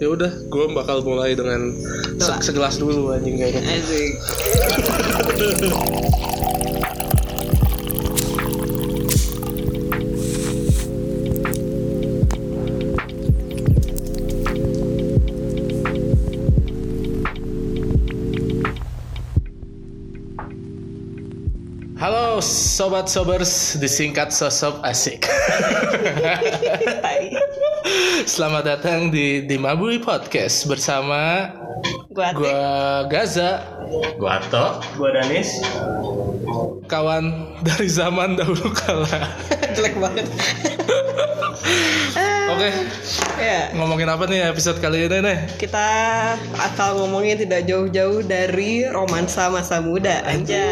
ya udah gue bakal mulai dengan se- Doa. segelas dulu anjing kayaknya Asik. halo sobat sobers disingkat sosok asik Tai. selamat datang di Dimabui Podcast bersama Gua gue Atik. Gaza Gua Ato Gua Danis. kawan dari zaman dahulu kala jelek banget. oke ya, ngomongin apa nih episode kali ini nih kita asal ngomongnya tidak jauh-jauh dari romansa masa muda anjay.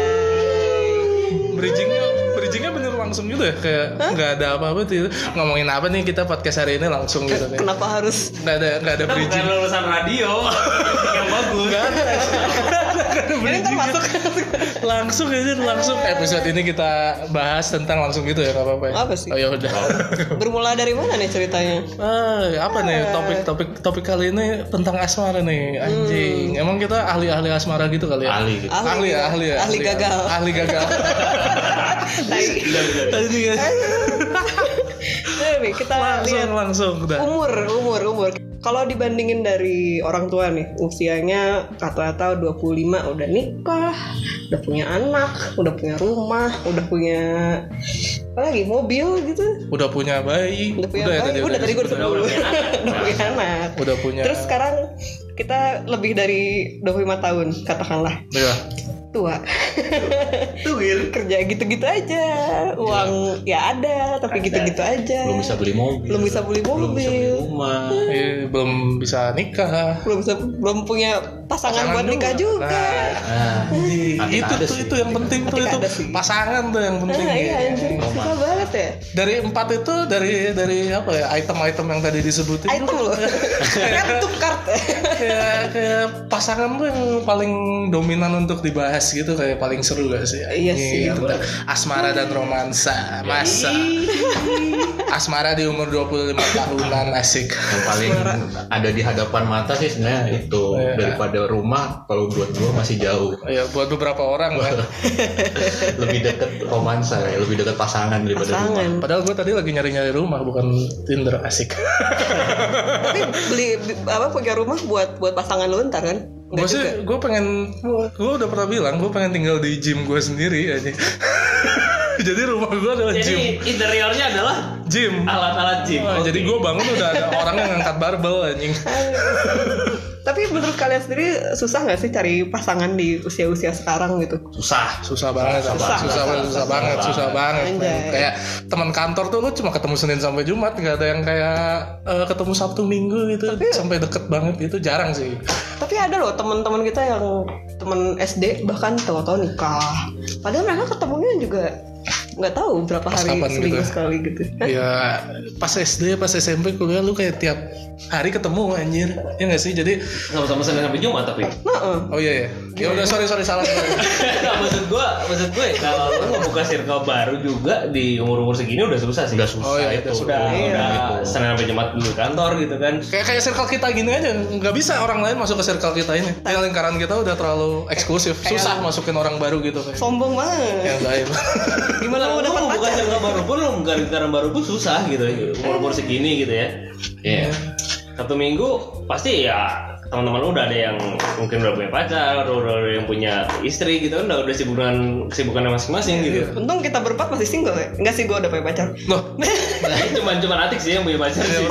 bridgingnya bridgingnya bener langsung gitu ya kayak nggak ada apa-apa tuh ngomongin apa nih kita podcast hari ini langsung gitu nih Kenapa harus nggak ada nggak ada Kita Kan bukan bridging lulusan radio yang bagus. Nggak ada. ini termasuk langsung aja langsung episode ini kita bahas tentang langsung gitu ya nggak apa-apa ya? Apa sih? oh ya udah bermula dari mana nih ceritanya? Ah, apa Eh. nih topik topik topik kali ini tentang asmara nih Hmm. anjing emang kita ahli ahli asmara gitu kali ya Ali gitu. ahli ya ahli ya ahli gagal. ahli gagal Tai. Tadi ya. Ayo nih, kita langsung lihat langsung udah umur, umur, umur. Kalau dibandingin dari orang tua nih, usianya rata-rata 25 udah nikah, udah punya anak, udah punya rumah, udah punya apa lagi mobil gitu. udah punya bayi Udah punya ya bayi. udah tadi gue udah udah, dulu. Udah punya anak. udah punya Terus sekarang kita lebih dari 25 tahun katakanlah Iya. tua Tuwir. kerja gitu-gitu aja uang ya ada tapi gitu-gitu aja Belum bisa beli mobil. Belum bisa beli Belum bisa beli mobil. rumah. Eh, belum bisa nikah belum bisa belum punya pasangan Pasangan buat nikah juga. Nah, Nah, Tapi itu ada tuh sih. itu yang penting tuh Tapi itu ada sih. pasangan tuh yang penting Nah, ya. iya anjir, susah banget ya. dari empat itu dari dari apa ya item-item yang tadi disebutin Item tuh loh. Kan tuh kartu. kayak kayak pasangan tuh yang paling dominan untuk dibahas gitu kayak paling seru gak sih Iya sih, Iya, tentang asmara dan romansa masa asmara di umur 25 tahunan asik yang paling ada di hadapan mata sih sebenarnya itu Oh, Iya. daripada rumah kalau buat gua masih jauh. ya buat beberapa orang kan lebih deket romansa ya, lebih deket pasangan daripada rumah. Pasangan. padahal gue tadi lagi nyari-nyari rumah bukan Tinder asik Tapi beli bi- apa punya rumah buat buat pasangan lu ntar kan? gue Enggak sih juga. gue pengen gue udah pernah bilang gue pengen tinggal di gym gue sendiri aja jadi rumah gue adalah gym Jadi interiornya adalah gym alat-alat gym. Wah, Oke. Ah, jadi gue bangun udah ada orang yang ngangkat barbel anjing Tapi menurut kalian sendiri susah nggak sih cari pasangan di usia-usia sekarang gitu? Susah. susah banget susah banget susah, banget, susah banget susah banget Anjay. kayak teman kantor tuh lu cuma ketemu senin sampai jumat nggak ada yang kayak eh, ketemu sabtu minggu gitu sampai deket banget itu jarang sih Tapi ada loh teman-teman kita yang teman SD bahkan tahu-tahu nikah. Padahal mereka ketemunya juga nggak tahu berapa Pas hari kapan seminggu gitu. sekali gitu. ya pas sd pas smp kuliah lu kayak tiap hari ketemu anjir ya nggak sih jadi Sama-sama Senin sampai Jumat tapi. Nah, eh. oh iya ya ya udah sorry sorry salah Nah, maksud gua, maksud gue kalau lu mau buka circle baru juga di umur-umur segini udah susah sih. Udah susah Oh, iya, itu. udah Udah, udah itu. Senin sampai Jumat dulu di kantor gitu kan. kayak kayak circle kita gini aja nggak bisa orang lain masuk ke circle kita ini kayak lingkaran kita udah terlalu eksklusif susah masukin orang baru gitu kayak sombong banget. yang lain Gimana mau Kalau lu dapat mau buka pacar? circle baru pun lu buka lingkaran baru pun susah gitu umur-umur segini gitu ya. Iya. Satu minggu pasti ya teman-teman lu udah ada yang mungkin udah punya pacar, udah, udah ada yang punya istri gitu kan, udah udah sibukan kesibukannya masing-masing gitu. Untung kita berempat masih single ya? Enggak sih, gue udah punya pacar loh Iya. Nah, cuman cuman Atik sih yang punya pacar sih.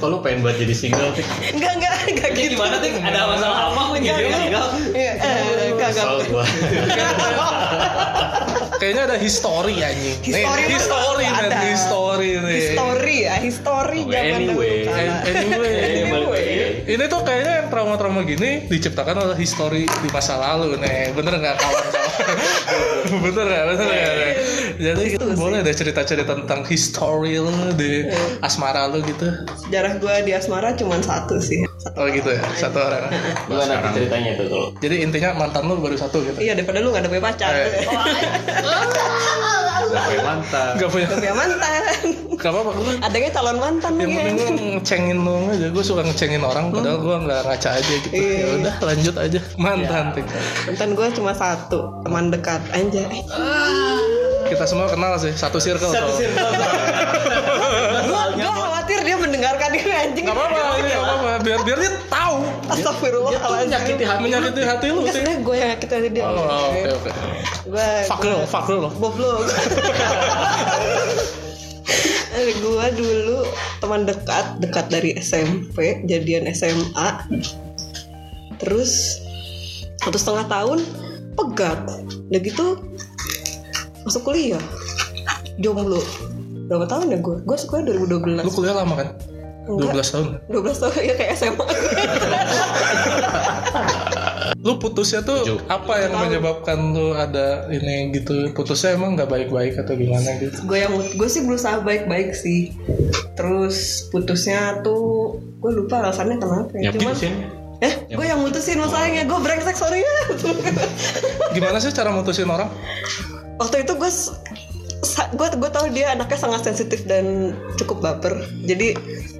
Kalau lu pengen buat jadi single sih, Enggak, enggak, enggak Ini gitu gimana Tik? Ada masalah apa kok Enggak, jadi enggak. single? Iya, eh, enggak, enggak kesel gua. Kayaknya ada history anjing. History nih, mah history ada. dan history nih. History ya, history Oke, zaman dahulu anyway. kala. An- Anyway, Iya, Eh, balik lagi. ini tuh kayaknya yang trauma-trauma gini diciptakan oleh history di masa lalu nih. Bener nggak kawan-kawan? bener nggak? Bener nggak? Nek? Jadi boleh deh cerita-cerita tentang history lu di asmara lu gitu. Sejarah gue di Asmara cuma satu sih Oh gitu ya, satu orang. Gimana Tik, ceritanya itu kalau? Jadi intinya mantan lu baru satu gitu. Iya, daripada lu gak ada punya pacar Eh. Wah, Gak punya mantan. Gak punya Gak punya mantan Gak apa-apa gue adanya calon mantan Yang ya. penting gue ngecengin lo aja Gue suka ngecengin orang Padahal gue gak ngaca aja gitu Iya. Ya udah lanjut aja Mantan tinggal. mantan gue cuma satu teman dekat anjay Kita semua kenal sih Satu circle Satu soalnya. circle. gue gue khawatir dia mendengarkan ini anjing Gak apa-apa ini gak apa-apa Biar, biar dia tahu astagfirullah Itu menyakiti hati. Menyakiti hati lu sih Maksudnya gue yang nyakitin hati dia Oh, Oke oke Gue Fuck lu Fuck lu lo Goblok Gue dulu teman dekat Dekat dari SMP Jadian SMA Terus Satu setengah tahun Pegat Udah gitu Masuk kuliah Jomblo Berapa tahun ya gue? Gue sekolah 2012 Lu kuliah lama kan? Enggak. 12 tahun 12 tahun ya kayak SMA Lu putusnya tuh Tujuh. apa yang menyebabkan lu ada ini gitu Putusnya emang gak baik-baik atau gimana gitu gue yang gue sih berusaha baik-baik sih terus putusnya tuh gue lupa alasannya kenapa ya. Nyakitin sih. eh gue yang mutusin masalahnya Oh. gue brengsek sorry ya Gimana sih cara mutusin orang? waktu itu gue gue gue tahu dia anaknya sangat sensitif dan cukup baper jadi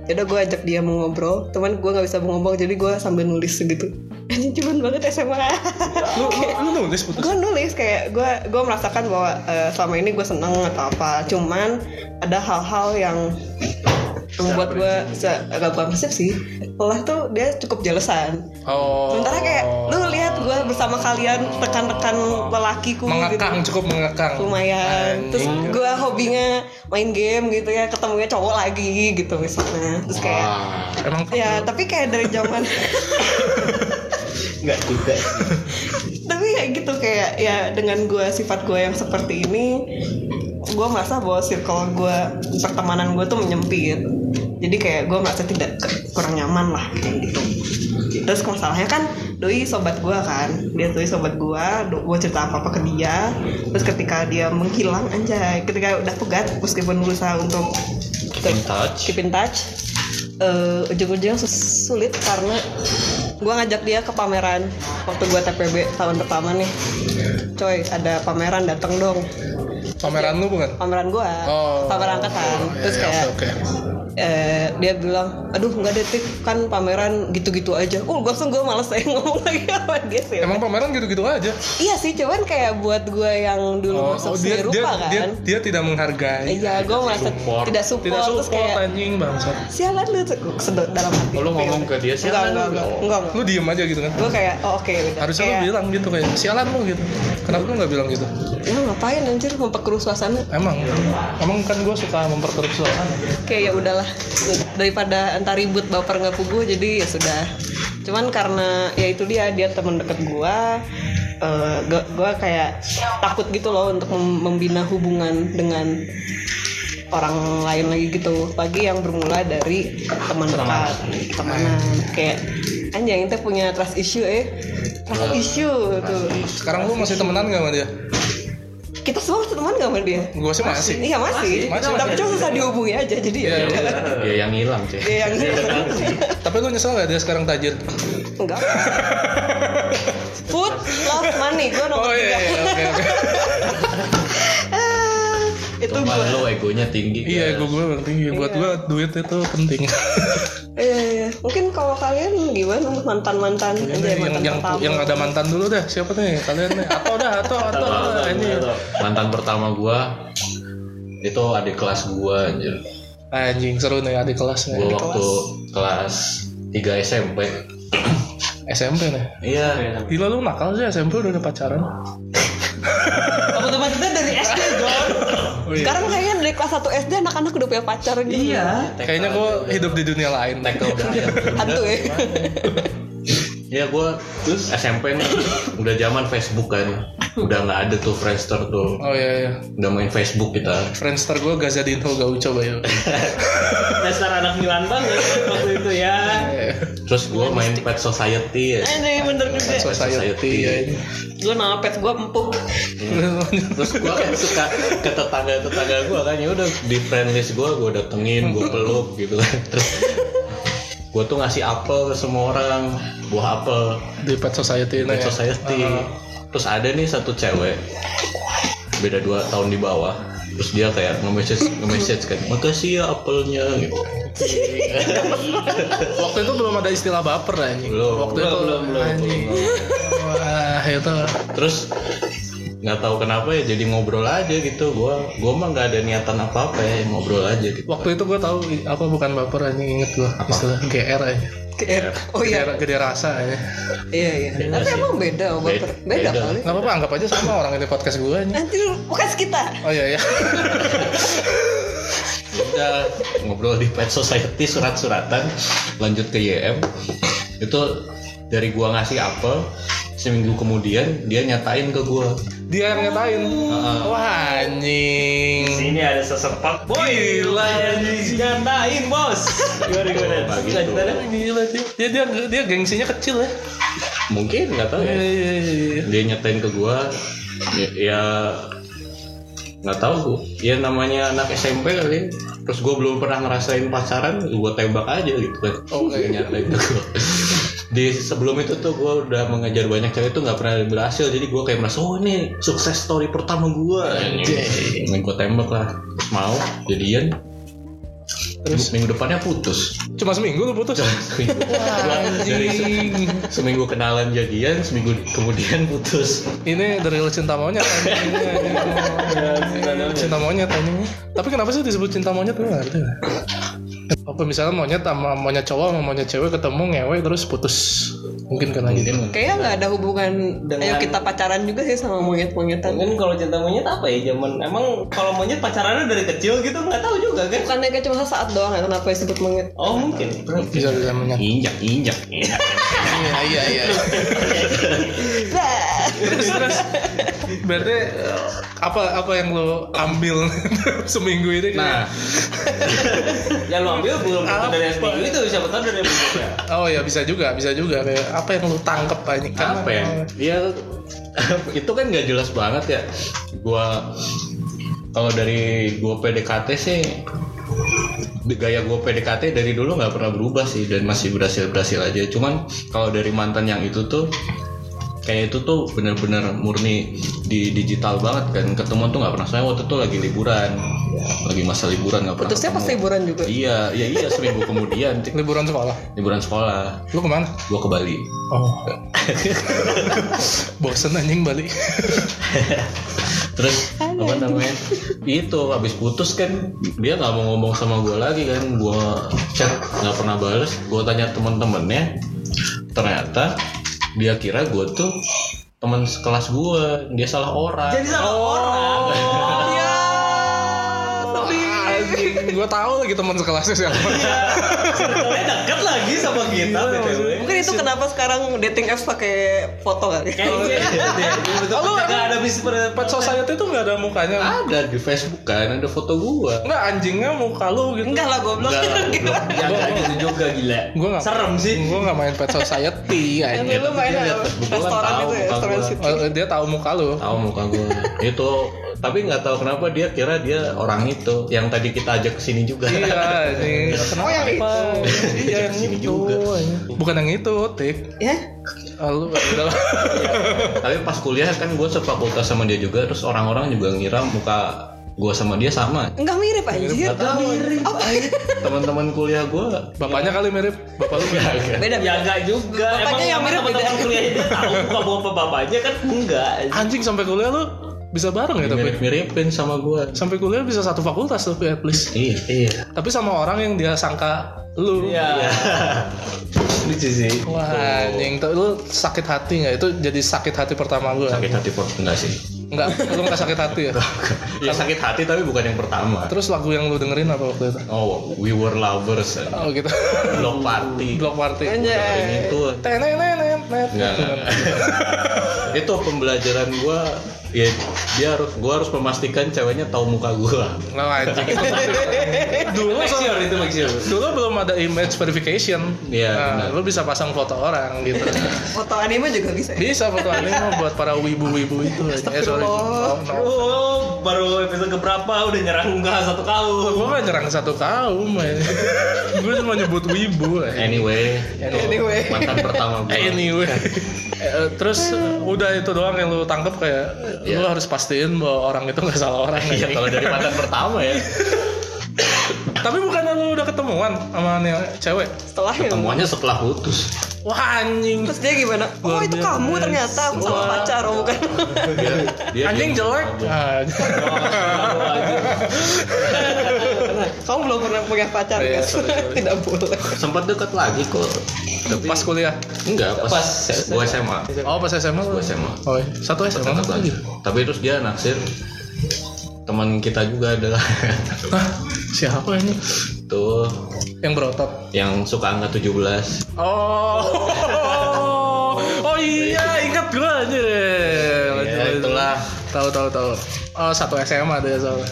yaudah gue ajak dia mau ngobrol teman gue nggak bisa ngomong jadi gue sambil nulis gitu anjing cuman banget SMA Lu, lu, lu nulis putus? gue nulis kayak gue gue merasakan bahwa eh, selama ini gue seneng atau apa cuman ada hal-hal yang membuat gue agak bukan prinsip sih setelah tuh dia cukup jelesan Oh. sementara kayak lu lihat gue bersama kalian rekan-rekan lelakiku gitu mengekang cukup mengekang. lumayan terus Anjing. gue hobinya main game gitu ya ketemunya cowok lagi gitu misalnya terus kayak Wah. Emang ya tapi kayak dari zaman Enggak juga. tapi kayak gitu kayak ya dengan gue sifat gue yang seperti ini gue merasa bahwa circle gue pertemanan gue tuh menyempit jadi kayak gue merasa tidak ke- kurang nyaman lah kayak gitu terus masalahnya kan doi sobat gue kan dia doi sobat gue gue cerita apa apa ke dia terus ketika dia menghilang anjay ketika udah pegat meskipun berusaha untuk Keep in touch. keep in touch eh ujung-ujungnya sus- sulit karena gue ngajak dia ke pameran waktu gue TPB tahun pertama nih coy ada pameran datang dong pameran lu bukan? pameran gue Oh. pameran angkatan Ya, terus ya, kayak Oke. oke. eh, dia bilang aduh nggak detik kan pameran gitu-gitu aja oh gua langsung gue males saya ngomong lagi sama dia sih Emang pameran gitu-gitu aja. iya sih cuman kayak buat gue yang dulu Oh, masuk seni dia, rupa kan dia, dia tidak menghargai. iya gue merasa support. tidak support, Tidak terus kayak support anjing bangsa. sialan lu tuh sedot dalam hati Oh, lu ngomong ke dia, enggak "Sialan enggak lu." enggak enggak, Lu diem aja gitu kan. gue kayak oh, oke gitu. Harusnya kayak, lu bilang gitu kayak sialan lu gitu. Kenapa lu nggak bilang gitu? "Lu ngapain anjir memperkeruh suasana Emang, emang kan gue suka memperkeruh suasana. kayak ya udahlah daripada entar ribut baper nggak pugu jadi ya sudah cuman karena ya itu dia dia teman deket gua eh, gua gua kayak takut gitu loh untuk mem- membina hubungan dengan orang lain lagi gitu lagi yang bermula dari teman dekat temanan kayak anjing itu punya trust issue eh trust issue tuh Sekarang lu masih temenan gak sama dia? kita semua teman gak sama dia Gue sih masih. iya masih, Masih, tapi masih. cuma susah dihubungi aja jadi ya Iya, udah. Ya yang hilang cuy. dia yang Tapi lu nyesel gak dia sekarang tajir? Enggak. Food, love, money. Gue nomor Oh iya, tiga. iya, oke oke. Ah, itu Cuma gue. lu egonya tinggi. Iya, guys. ego gue paling tinggi. Buat Iya. gue duit itu penting. Iya, iya. Mungkin kalau kalian gimana mantan mantan Ini aja yang Iya, mantan Iya, yang pertama. yang ada mantan dulu deh. Siapa nih kalian nih? Atau dah, atau atau atau, ini. Mantan pertama gua itu adik kelas gua anjir. Ah, Anjing seru nih adik kelasnya. Gua waktu kelas 3 SMP. SMP nih. Iya. Gila lu nakal sih SMP udah ada pacaran. Apa teman kita dari SD John. Oh, iya. Sekarang kayaknya dari kelas 1 SD anak-anak udah punya pacar gitu. Iya. Kayaknya gue hidup di dunia lain. Tackle udah ayam. Hantu ya. Iya gua terus SMP nih udah zaman Facebook kan. Udah nggak ada tuh Friendster tuh. Oh iya iya. Udah main Facebook kita. Friendster gue Gazadinho Gaucho Bayo. Dasar anak Milan banget waktu itu ya. Eh, Terus gua main Pet Society ya. Anjay bener juga. Society. Society. iya, iya. Gue nama pet gue empuk. terus gue kan suka ke tetangga tetangga gue kan ya udah di friend list gue gue datengin gue peluk gitu kan terus gue tuh ngasih apel ke semua orang buah apel Di Pet Society di nih. ya. society terus ada nih satu cewek beda dua tahun di bawah terus dia kayak nge-message nge-message kan makasih ya apelnya gitu Iya. Waktu itu belum ada istilah baper anjing. Belum. Waktu itu Belum, belum, anjing. Wah, itu terus nggak tahu kenapa ya jadi ngobrol aja gitu gua gua mah nggak ada niatan apa apa ya ngobrol aja gitu waktu itu gue tahu i- apa bukan baper anjing inget gue istilah GR aja. Kayak- oh iya Gede, gede rasa ya. iya iya tapi sih. emang beda oh, baper beda, Beda. kali Gak apa-apa anggap aja sama orang ini podcast gue anjing. nanti lu bekas kita Oh iya iya. udah ngobrol di pet society surat-suratan lanjut ke YM itu dari gua ngasih apel seminggu kemudian dia nyatain ke gua Dia yang ngatain. Wah anjing. Sini ada sesepak boy. Gila, Nyatain bos. Gimana gimana? Nah, gitu. Lanjutannya? Gila sih. Dia dia dia gengsinya kecil ya. mungkin nggak tahu ya Iya iya iya. dia nyatain ke gua ya- ya nggak tahu gua. ya namanya anak SMP kali ya. terus gua belum pernah ngerasain pacaran gua tembak aja gitu kan Oke. Dia nyatain ke gua di sebelum itu tuh gua udah mengejar banyak cewek itu nggak pernah berhasil jadi gua kayak merasa oh ini sukses story pertama gua Anjay. Nah, gua tembak lah Terus mau jadian Terus? terus minggu depannya putus Cuma seminggu lu putus. Iya. Gua dari se- Anjing. seminggu kenalan jadian seminggu kemudian putus Ini dari real cinta monyet anjing. Ini, anjing. Iya, cinta monyet anjing. Tapi kenapa sih disebut cinta monyet gue nggak ngerti. Apa misalnya monyet sama monyet cowok sama monyet cewek ketemu ngewe terus putus. Mungkin karena gitu. mungkin kayaknya nggak ada hubungan Dengan- ayo kita pacaran juga sih sama monyet-monyetan Kan kalau cinta monyet apa ya zaman emang kalau monyet pacarannya dari kecil gitu nggak tahu juga kan? bukannya kayak cuma sesaat doang ya kenapa disebut monyet Oh mungkin. Bisa bisa monyet. injak injak Iya iya iya. Iya. terus terus. Berarti eh, apa apa yang lo ambil seminggu ini? nah Ya lu ambil belum Apa? dari seminggu itu siapa tahu dari minggu ya. Oh ya bisa juga bisa juga kayak apa yang lo tangkep anjing? Karena- apa ya dia itu kan nggak jelas banget ya gua kalau dari gua PDKT sih gaya gua PDKT dari dulu nggak pernah berubah sih dan masih berhasil berhasil aja cuman kalau dari mantan yang itu tuh kayak itu tuh bener-bener murni di digital banget kan ketemu tuh nggak pernah soalnya waktu itu lagi liburan lagi masa liburan nggak pernah putusnya pas ketemu. liburan juga iya iya iya seminggu kemudian tik- eh, Liburan sekolah. liburan sekolah Lu kemana? gua ke Bali Oh. Bosen anjing balik. terus apa namanya itu habis putus kan dia nggak mau ngomong sama gue lagi kan gue chat nggak pernah bales gue tanya temen-temennya ternyata dia kira gue tuh teman sekelas gue dia salah orang Jadi salah orang. ya Iya. gue tahu lagi teman sekelasnya siapa. Circle-nya deket lagi sama kita BTW. mungkin itu kenapa sekarang dating apps pakai foto kali ya? Kayaknya iya. betul Lu nggak ada bis Pet society tuh nggak ada mukanya. ada di Facebook kan ada foto gue Nggak anjingnya muka lu gitu. enggak lah goblok Ya nggak gitu juga gila. Gue nggak. Serem sih. Gue nggak main pet society. Yang anjing. dulu main Dia apa? lihat Facebook, gua kan restoran itu ya, tahu muka restoran gua. situ. Oh, dia tahu muka lu. tahu muka gue itu tapi nggak tahu kenapa dia kira dia orang itu yang tadi kita ajak ke sini juga Iya, anjing. Oh, yang itu. Iya, yang Sini itu. juga. anjing. Bukan yang itu, Tik. Ya, Ah, Lu udah lah. tapi pas kuliah kan gue sefakultas sama dia juga terus orang-orang juga ngira muka gue sama dia sama enggak mirip anjir. Gak tahu Apa? teman-teman kuliah gue Bapaknya kali mirip. Bapak lu mirip. Beda. Ya nggak juga. Bapaknya Emang yang mirip teman-teman beda. kuliahnya dia tahu bukan bapak bapaknya kan enggak. Anjing sampai kuliah lu bisa bareng Iya, ya tapi. mirip-miripin sama gue Sampai kuliah bisa satu fakultas tapi at least. iya iya Tapi sama orang yang dia sangka lu. Iya. Lucu sih. Wah, anjing, tuh lu sakit hati nggak? Itu jadi sakit hati pertama lu. sakit hati pun enggak sih Enggak, lu nggak sakit hati ya. ya sakit hati tapi bukan yang pertama Terus lagu yang lu dengerin apa waktu itu? oh we were lovers eh. Oh gitu. block party Block party. Dengerin Anjay. itu Tenenenenet. Enggak, enggak. itu pembelajaran gue ya dia harus gue harus memastikan ceweknya tahu muka gue Nah, anjing itu. Dulu Make sure itu make sure. dulu belum ada image verification. Iya, Nah, benar. lu bisa pasang foto orang gitu. Foto anime juga bisa. ya? Bisa foto anime buat para wibu-wibu itu. Eh, sorry. Astagfirullah. Oh, no. Oh, baru episode keberapa udah nyerang enggak satu kaum. Gue gak nyerang satu kaum Gue cuma nyebut wibu eh. anyway Anyway. Iya. mantan pertama gue Eh, Anyway Eh, Terus eh, udah itu doang yang lu tangkep kayak Lu Iya. harus pastiin bahwa orang itu nggak salah orang. Iya, anjing. kalau dari mantan pertama ya. Tapi bukan lu udah ketemuan sama nih cewek? setelah Temuannya setelah putus. Wah anjing. terus dia gimana oh itu kamu ternyata aku sama pacar oh bukan Dia, dia Anjing dia- jelek. Ah, kamu belum pernah punya pacar Iya, guys sorry, sorry. tidak boleh Sempat deket lagi kok. Tapi Pas kuliah. enggak pas, Pas gua SMA. Oh pas SMA. lu? Gua SMA. Oh, iya. satu SMA Deket lagi. lagi. Tapi terus dia naksir teman kita juga adalah Hah? Siapa ini? tuh Yang berotot. yang suka angka 17 Oh. Oh iya, ingat gua anjir. Ya, itulah. Tahu tahu tahu. Oh, satu SMA dia soalnya.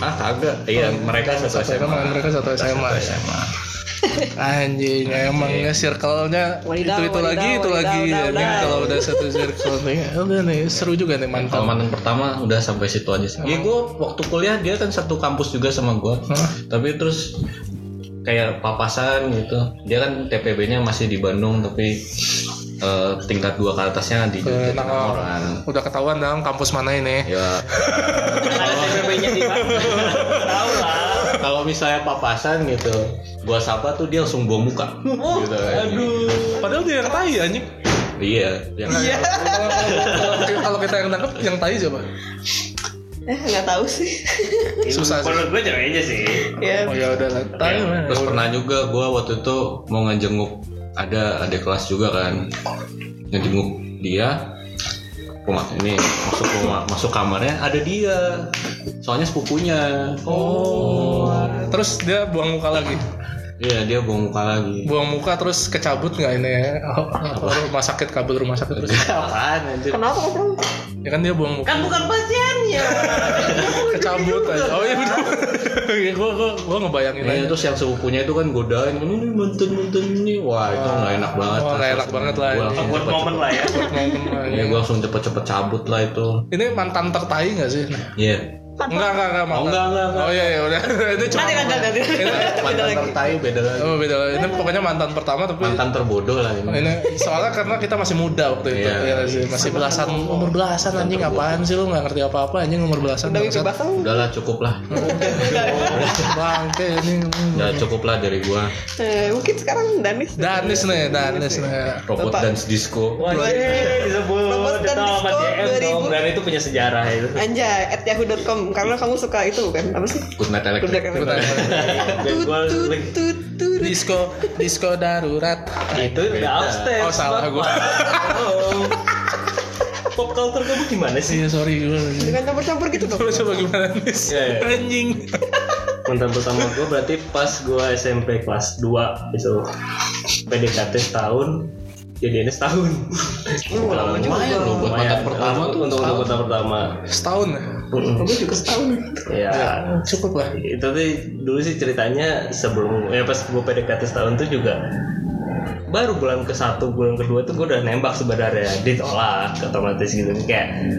Ah kagak. Iya mereka satu Satu SMA. SMA, mereka satu SMA. Satu SMA. Anjing, emangnya circle-nya Wadidaw, itu itu wadidaw, lagi itu wadidaw, lagi wadidaw, anjing wadidaw. kalau udah satu circle nih. Ya Udah nih, seru juga nih Kalau mantap. mantan pertama udah sampai situ aja sih. Ya gue waktu kuliah dia kan satu kampus juga sama gue. Hah? Tapi terus kayak papasan gitu. Dia kan TPB-nya masih di Bandung tapi eh, tingkat dua ke atasnya di Eh, Jatinangor. Udah ketahuan dong kampus mana ini. Ya Ada TPP-nya di mana? Oh. Tahu lah. kalau misalnya papasan gitu, gua sapa tuh dia langsung gua muka. gitu, aduh. Padahal dia yang tai anjing. Iya. yang- Kalau kita yang nangkep yang tai coba. eh nggak tahu sih Susah sih. Menurut gue ceweknya sih. ya Oh ya udah lah. Tai mana? Iya, Terus pernah juga gue waktu itu mau ngejenguk ada ada kelas juga kan ngejenguk dia rumah ini masuk rumah masuk kamarnya ada dia soalnya sepupunya Oh. Terus dia buang muka lagi. iya dia buang muka lagi Buang muka terus kecabut nggak ini? Oh, rumah sakit kabel rumah sakit terus. apaan anjir kenapa kamu Ya kan dia buang muka Kan bukan pasiennya. kecabut aja. Oh iya bener. Iya, gua gua gua ngebayangin Nah, aja. terus yang sepupunya itu kan godain ini nih, mantan mantan ini wah itu nggak enak banget Wah, nggak enak banget lah Gua ini. langsung Buat cepet-cepet- momen lah ya. Iya, gua langsung cepet-cepet cabut lah itu Ini mantan tertai nggak sih? Nah. iya Kan Enggak, enggak, enggak, mantan. Oh, enggak, enggak, enggak. Oh iya, iya, udah. Itu cuma. nanti nanti nanti mantan tertai beda lagi Oh, beda. Ini pokoknya mantan pertama tapi mantan terbodoh lah ini ini soalnya karena kita masih muda waktu itu. Iya. Iya sih, masih belasan umur belasan anjing apaan sih lu nggak ngerti apa-apa anjing umur belasan. udah bangsat. bebas tahu udahlah cukup lah Bangke ini. udah cukup lah Ya, dari gua Eh, mungkin sekarang Danis Danis nih, Danis nih. robot Bapak. dance disco Wah, ini Nomor disebut. dan Tahu sama diskon Ya, DM dong. 2000. Dan itu punya sejarah itu. Anjay, at yahoo.com karena kamu suka itu bukan apa sih? good night Udah electric kan. iya. Dan Tut, gua- tut, tut, tut. Disco, disco darurat. Nah, Itu udah Beda. upstairs. Oh, salah Bapak. gua. Oh. Pop culture kamu gimana sih? Iya, sorry gue. Dengan campur-campur gitu dong. Coba coba gimana Nis? Iya, iya. Anjing. Mantan pertama gue berarti pas gue SMP kelas 2 itu PDKT setahun jadiannya setahun Oh, lama juga. lumayan loh buat mantan Lumayan. pertama Untuk- tuh untuk untuk mantan pertama Setahun ya? Kamu juga setahun. ya Iya. Cukup lah. itu tuh dulu sih ceritanya sebelum ya pas gue PDKT setahun tuh juga baru bulan ke satu bulan kedua tuh gue udah nembak sebenarnya ditolak otomatis gitu kayak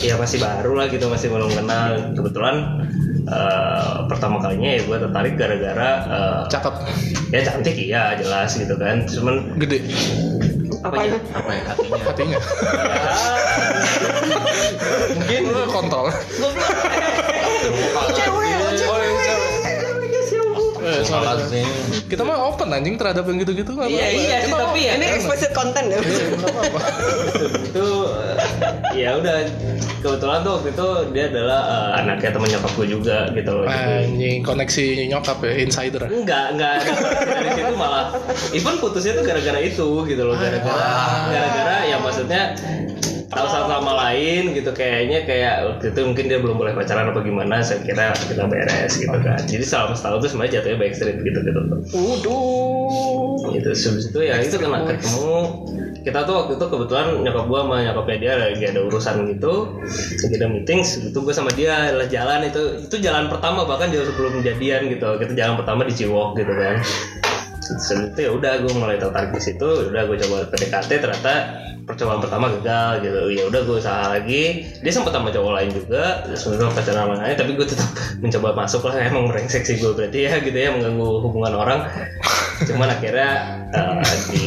ya masih baru lah gitu masih belum kenal kebetulan eh, pertama kalinya ya gue tertarik gara-gara eh, Cakep. ya cantik iya jelas gitu kan cuman Gede. Apa itu? apa ya hatinya Hatinya. Mungkin lu kontrol. Oh, Cewek, Oh, cewek. Eh, sorry. salah sih Kita mah open anjing terhadap yang gitu-gitu nggak Iya, apa-apa. iya sih, Kita tapi ya Iya. Ini explicit content ya. nggak apa-apa. itu eh, ya udah kebetulan tuh waktu itu dia adalah eh, anaknya temen nyokap gue juga gitu Eh, iya. loh Jadi, Anjing koneksi nyokap ya insider. Enggak, enggak dari situ malah even putusnya tuh gara-gara itu gitu loh gara-gara gara-gara ya maksudnya tahu satu sama lain gitu kayaknya kayak waktu itu mungkin dia belum boleh pacaran apa gimana saya kira kita beres gitu kan jadi selama setahun tuh sebenarnya jatuhnya backstreet gitu gitu tuh Waduh. gitu Terus itu ya itu kena ketemu kita tuh waktu itu kebetulan nyokap gua sama nyokapnya dia lagi ada urusan gitu lagi ada meeting itu gua sama dia lah jalan itu itu jalan pertama bahkan jauh sebelum kejadian gitu kita jalan pertama di Ciwok gitu kan Terus itu ya udah gue mulai tertarik di situ Ya udah gue coba PDKT ternyata percobaan pertama gagal gitu ya udah gue usaha lagi dia sempat sama cowok lain juga sebenarnya pacaran sama lain tapi gue tetap mencoba masuk lah emang brengsek sih gue berarti ya gitu ya mengganggu hubungan orang cuman akhirnya eh, di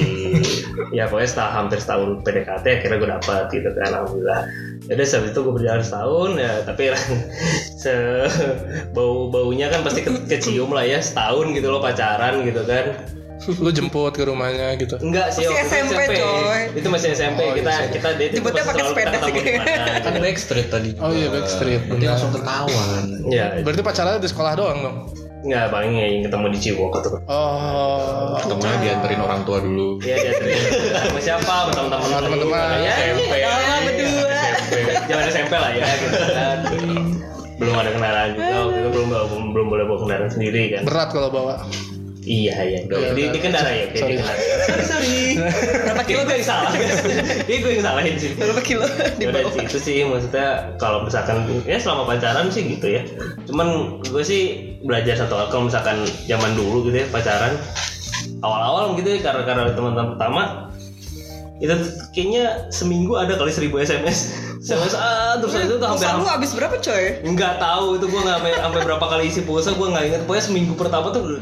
ya pokoknya setelah hampir setahun PDKT akhirnya gue dapet gitu kan alhamdulillah jadi setelah itu gue berjalan setahun ya tapi se bau baunya kan pasti ke- kecium lah ya setahun gitu loh pacaran gitu kan Lu jemput ke rumahnya gitu. Enggak sih, Masih waktu itu SMP, coy. Itu masih SMP. Oh, kita iya, iya. kita dating Jemputnya pasti pakai selalu sepeda kita ketemu sih. di mana, kan gitu. backstreet tadi juga. Oh iya, Backstreet, Berarti benar. langsung ketahuan Ya, Berarti pacarnya di sekolah doang dong. enggak paling ya yang ketemu di Ciwok atau Oh. ketemunya dianterin orang tua dulu Iya, dia sering. sama siapa? Sama teman-teman. Sama teman-teman. Ya, SMP Jangan berdua. SMP Jangan SMP lah ya gitu kan. belum ada kendaraan juga waktu itu belum belum, belum boleh bawa kendaraan sendiri kan Berat kalau bawa. iya iya Udah, di, udah. di kendara ya Sorry. sorry sorry sorry kata kilo gue yang salah guys ini gue yang salahin sih berapa kilo di Ya udah bawah sih, itu sih maksudnya kalau misalkan ya selama pacaran sih gitu ya cuman gue sih belajar satu hal kalau misalkan zaman dulu gitu ya pacaran awal-awal gitu ya karena karena teman-teman pertama itu kayaknya seminggu ada kali seribu sms sms ah, terus itu tuh hampir Pulsa lu habis berapa coy? nggak tahu itu gue nggak sampai- sampai berapa kali isi pulsa gue nggak inget pokoknya seminggu pertama tuh udah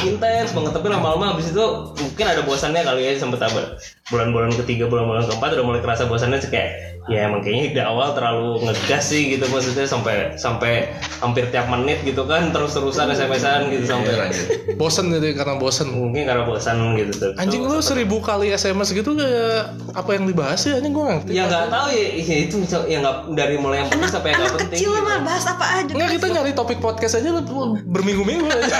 intens banget tapi lama-lama habis itu mungkin ada bosannya kali ya sempet apa bulan-bulan ketiga bulan-bulan keempat udah mulai kerasa bosannya sih kayak ya emang kayaknya di awal terlalu ngegas sih gitu maksudnya sampai sampai hampir tiap menit gitu kan terus-terusan SMS-an gitu sampai Iya, Bosen jadi karena bosen. mungkin karena bosan gitu tuh Anjing lu seribu kali SMS gitu kayak apa yang dibahas ya anjing gua nggak ngerti. ya nggak tahu ya, ya itu ya nggak dari mulai yang penting sampai yang nggak Anak penting kecil gitu. mah bahas apa aja. Enggak kita nyari topik podcast aja lu berminggu-minggu aja.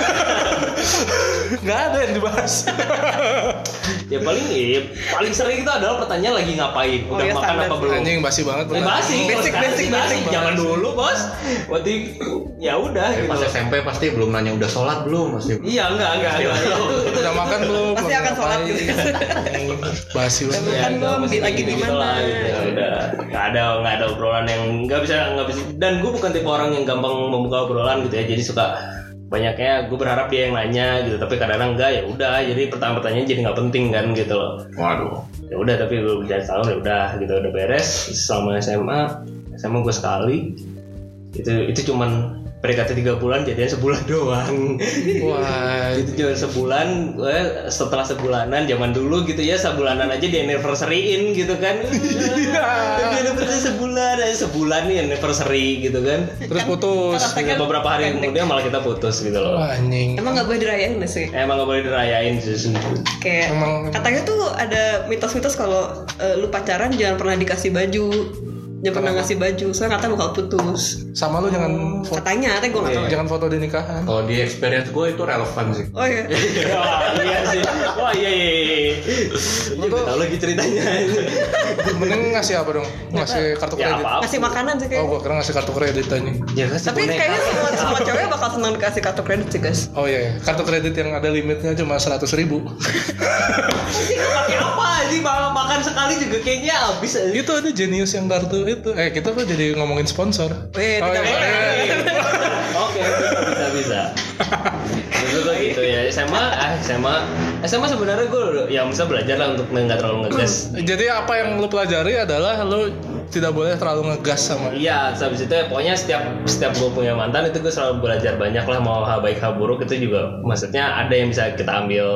Enggak ada yang dibahas. ya paling ya, paling sering itu adalah pertanyaan lagi ngapain Oh, udah iya, makan standar apa sih. belum Anjing basi banget. Eh, bener. basi kalau Basic, sekarang basic, sih basi. basic. zaman dulu bos waktu ya udah Eh, gitu pas SMP pasti belum nanya udah sholat belum pasti iya enggak enggak enggak Udah makan belum? Pasti akan sholat gitu. Basi banget. Ya, Kan enggak, gua masih ambil lagi di gitu-gitu mana. lah, gitu. Ya udah nggak ada nggak ada obrolan yang nggak bisa nggak bisa dan gue bukan tipe orang yang gampang membuka obrolan gitu ya jadi suka banyaknya gue berharap dia yang nanya gitu tapi kadang-kadang enggak ya udah jadi pertanyaan pertanyaan jadi nggak penting kan gitu loh waduh ya udah tapi gue berjalan setahun ya udah gitu udah beres selama SMA SMA gue sekali itu itu cuman PDKT tiga bulan jadinya sebulan doang Wah. itu cuma sebulan gue setelah sebulanan zaman dulu gitu ya sebulanan aja di anniversaryin gitu kan Tapi anniversary sebulan aja sebulan nih anniversary gitu kan Terus putus. Terus beberapa hari kemudian malah kita putus gitu loh Wah, anjing. Emang nggak boleh dirayain nggak sih? emang gak boleh dirayain sih Kayak Emang katanya tuh ada mitos-mitos kalau eh, lu pacaran jangan pernah dikasih baju, jangan pernah ngasih baju, soalnya kata bakal putus. sama lu jangan foto, Katanya, tapi gue nggak tahu. jangan foto di nikahan. kalau di experience gue itu relevan sih Oh iya. Wah, iya sih. Wah, iya iya. iya. Ini gak tahu lagi ceritanya. Mending ngasih apa dong? Ngasih kartu ya kredit. apa apa. Ngasih makanan sih Oh, kayak. gua kira ngasih kartu kredit aja. Ya kan Tapi kayaknya semua semua cewek bakal senang dikasih kartu kredit sih guys. Oh iya, iya. kartu kredit yang ada limitnya cuma seratus ribu. pakai apa sih? Makan makan sekali juga kayaknya habis. aja. itu ada jenius yang kartu itu. Eh kita kok jadi ngomongin sponsor. Eh, Oh, tidak iya, boleh. iya, iya. Oke, bisa bisa. Itu tuh gitu ya. SMA, ah SMA, SMA sebenarnya gue ya bisa belajar lah untuk nggak terlalu ngegas. Jadi apa yang lu pelajari adalah lu tidak boleh terlalu ngegas sama. Iya, terus habis itu ya, pokoknya setiap setiap gue punya mantan itu gue selalu belajar banyak lah mau hal baik hal buruk itu juga maksudnya ada yang bisa kita ambil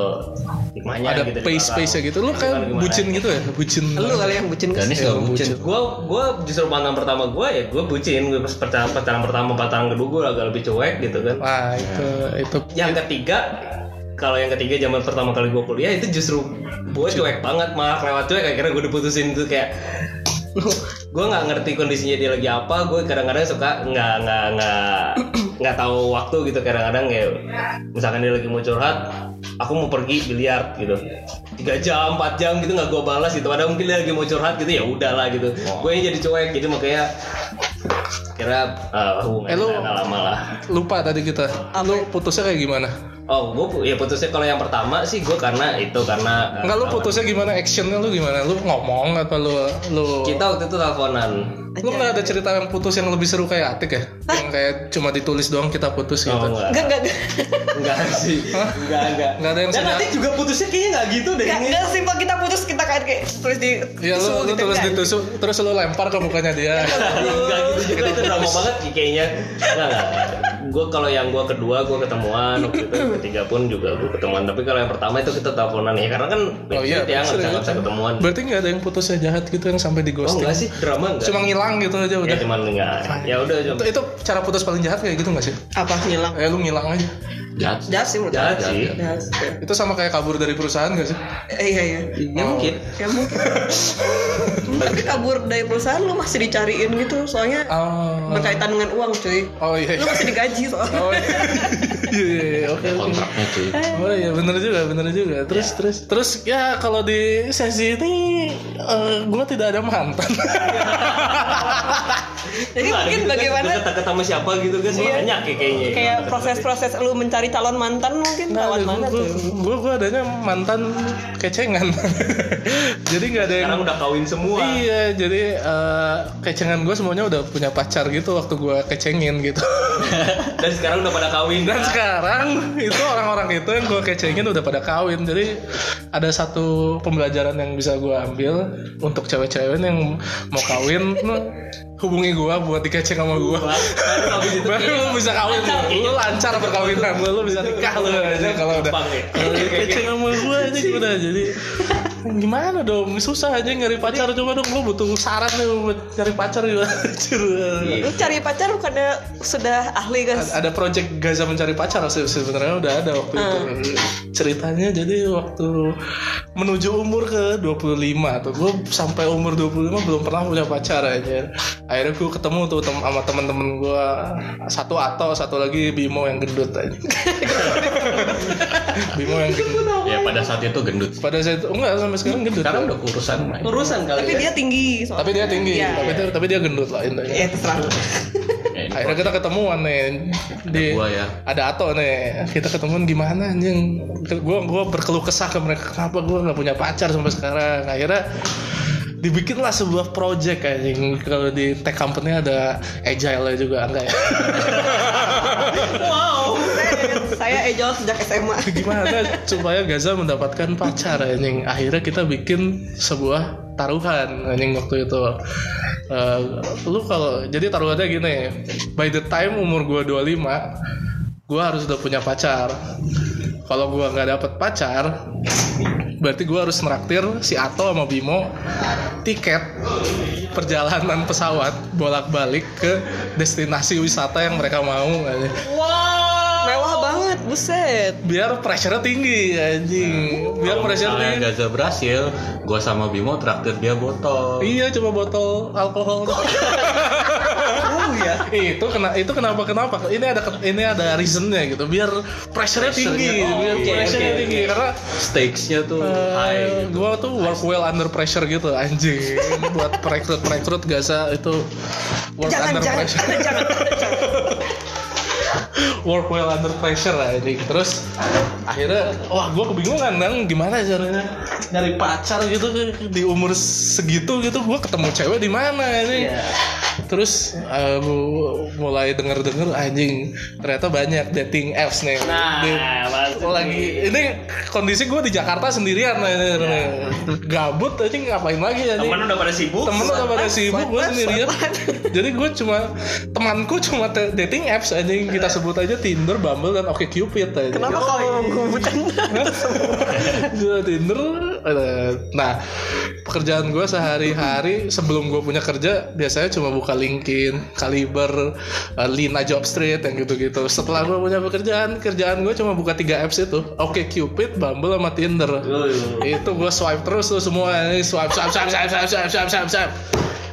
hikmahnya ada gitu di pace belakang. pace gitu. Lu Bukan kayak gimana. bucin gitu ya, bucin. Lu kali yang bucin guys. Ganis Iya, gak bucin gue gue justru mantan pertama gue ya gue bucin gue pas pacaran pacaran pertama pacaran kedua gue agak lebih cuek gitu kan Wah, itu itu yang ketiga kalau yang ketiga zaman pertama kali gue kuliah itu justru gue cuek banget malah lewat cuek akhirnya gue diputusin tuh kayak gue nggak ngerti kondisinya dia lagi apa gue kadang-kadang suka nggak nggak nggak nggak tahu waktu gitu kadang-kadang kayak misalkan dia lagi mau curhat aku mau pergi biliar gitu tiga jam 4 jam gitu nggak gue balas gitu padahal mungkin dia lagi mau curhat gitu ya udahlah gitu Oh. gue yang jadi cuek jadi makanya kira uh, Eh, lu- hubungannya nggak lama lah lupa tadi kita. Apa? Lu putusnya kayak gimana? Oh, gue ya putusnya kalau yang pertama sih gue karena itu karena eh, Enggak lu putusnya gimana? Actionnya lu gimana? Lu ngomong atau lu lu kita waktu itu teleponan. Lu nggak ada cerita yang putus yang lebih seru kayak Atik ya? Yang kayak cuma ditulis doang kita putus Oh, gitu. enggak. Enggak enggak enggak. Enggak sih. Enggak, enggak. Enggak ada yang Dan senyap. nanti juga putusnya kayaknya enggak gitu deh Enggak ini. enggak sih Pak, kita putus kita kayak kayak tulis di Iya tisu lu, lu gitu, Iya. tulis enggak? ditusuk terus lu lempar ke mukanya dia. Enggak gitu juga itu drama banget sih kayaknya. Enggak, enggak. gue kalau yang gue kedua gue ketemuan waktu itu yang ketiga pun juga gue ketemuan tapi kalau yang pertama itu kita teleponan ya karena kan Oh iya, ya pasti nggak bisa lah. nggak bisa ketemuan Berarti nggak ada yang putusnya jahat gitu yang sampai di oh ghosting. enggak sih drama enggak Cuma ngilang gitu aja ya udah. cuman enggak ya udah Itu, cuma itu cara putus paling jahat kayak gitu nggak sih? apa ngilang Eh lu ngilang aja. jahat jahat sih menurut jahat aku sih jahat sih. Itu sama kayak kabur dari perusahaan nggak sih? Eh, iya iya ya mungkin ya mungkin tapi kabur dari perusahaan lu masih dicariin gitu soalnya Oh, berkaitan dengan uang cuy oh iya. lu iya. masih digaji soalnya Oh iya. Iya iya iya. Oke. ada kontraknya cuy Oh iya bener juga bener juga terus terus terus ya kalau di sesi ini gue tidak ada mantan jadi mungkin bagaimana Iya. kata-kata sama siapa gitu kan banyak ya kayaknya kayak proses-proses lu mencari calon mantan mungkin Nah, calon gue mana tuh gue gue adanya mantan kecengan jadi nggak ada yang sekarang udah kawin semua Iya, jadi eh, kecengan gue semuanya udah punya pacar gitu waktu gue kecengin gitu. dan sekarang udah pada kawin Dan sekarang itu orang-orang itu yang gue kecengin udah pada kawin. Jadi ada satu pembelajaran yang bisa gue ambil untuk cewek-cewek yang mau kawin, lu hubungi gue buat dikeceng sama gue. Baru habis itu Baru lu bisa kawin, lu gitu lancar gitu. perkawinan, lu, lu bisa nikah lu aja kalau udah Gampang ya. kalau udah keceng sama gue aja udah jadi gimana dong susah aja nyari pacar coba dong lu butuh saran nih buat cari pacar juga Anjir. lu cari pacar karena sudah ahli guys ada project Gaza mencari pacar se- sebenarnya udah ada waktu Nah. itu ceritanya jadi waktu menuju umur ke 25 tuh gue sampai umur 25 belum pernah punya pacar aja akhirnya gue ketemu tuh tem- sama temen-temen gue satu atau satu lagi Bimo yang gendut aja Bimo yang gendut ya pada saat itu gendut pada saat itu enggak sampai sekarang gendut sekarang udah kurusan main urusan kali tapi ya dia tinggi soalnya tapi dia tinggi Iya. tapi dia, tapi dia gendut lah intinya ya terserah lu. Eh, ini akhirnya kita ketemuan nih di gua ya ada Ato nih kita ketemuan gimana anjing gue gua berkeluh kesah ke mereka kenapa gue nggak punya pacar sampai sekarang akhirnya dibikinlah sebuah project anjing kalau di tech company ada agile juga enggak ya wow Saya- saya ejol sejak SMA gimana supaya Gaza mendapatkan pacar anjing akhirnya kita bikin sebuah taruhan anjing waktu itu Eh, lu kalau jadi taruhannya gini by the time umur gua 25 gua harus udah punya pacar kalau gua nggak dapet pacar berarti gua harus neraktir si Ato sama Bimo tiket perjalanan pesawat bolak-balik ke destinasi wisata yang mereka mau anjing mewah banget buset biar pressure tinggi anjing biar pressure Nah, Misalnya tinggi Gaza berhasil, gua sama Bimo traktir dia botol. iya coba botol alkohol oh iya. ya itu kena itu kenapa kenapa ini ada ini ada reasonnya gitu biar pressure tinggi Pressure-nya, oh, biar oke, pressure-nya oke, gitu. tinggi karena Stakesnya tuh eh, high. gua tuh work well under pressure gitu anjing buat perekrut perekrut Gaza itu work jangan under jangan pressure jangan work well under pressure lah ini terus akhirnya wah gue kebingungan kan gimana caranya nyari pacar gitu di umur segitu gitu gue ketemu cewek di mana ini terus eh, gua mulai denger denger anjing ternyata banyak dating apps nih nah gitu. Di- maksud gua lagi ini kondisi gue di Jakarta sendirian anjing. gabut anjing ngapain lagi anjing temen udah pada sibuk temen udah pada sibuk gue sendirian jadi gue cuma temanku cuma te- dating apps aja yang kita sebut aja Tinder, Bumble dan OkCupid aja. kenapa kamu mengkubutan Gua Tinder, eh, nah pekerjaan gue sehari-hari sebelum gue punya kerja biasanya cuma buka LinkedIn, Kaliber, eh, Lina Jobstreet yang gitu-gitu. Setelah gue punya pekerjaan, kerjaan gue cuma buka tiga apps itu, OkCupid, Bumble sama Tinder itu gue swipe terus tuh semua ini swipe swipe swipe swipe swipe swipe swipe swipe swipe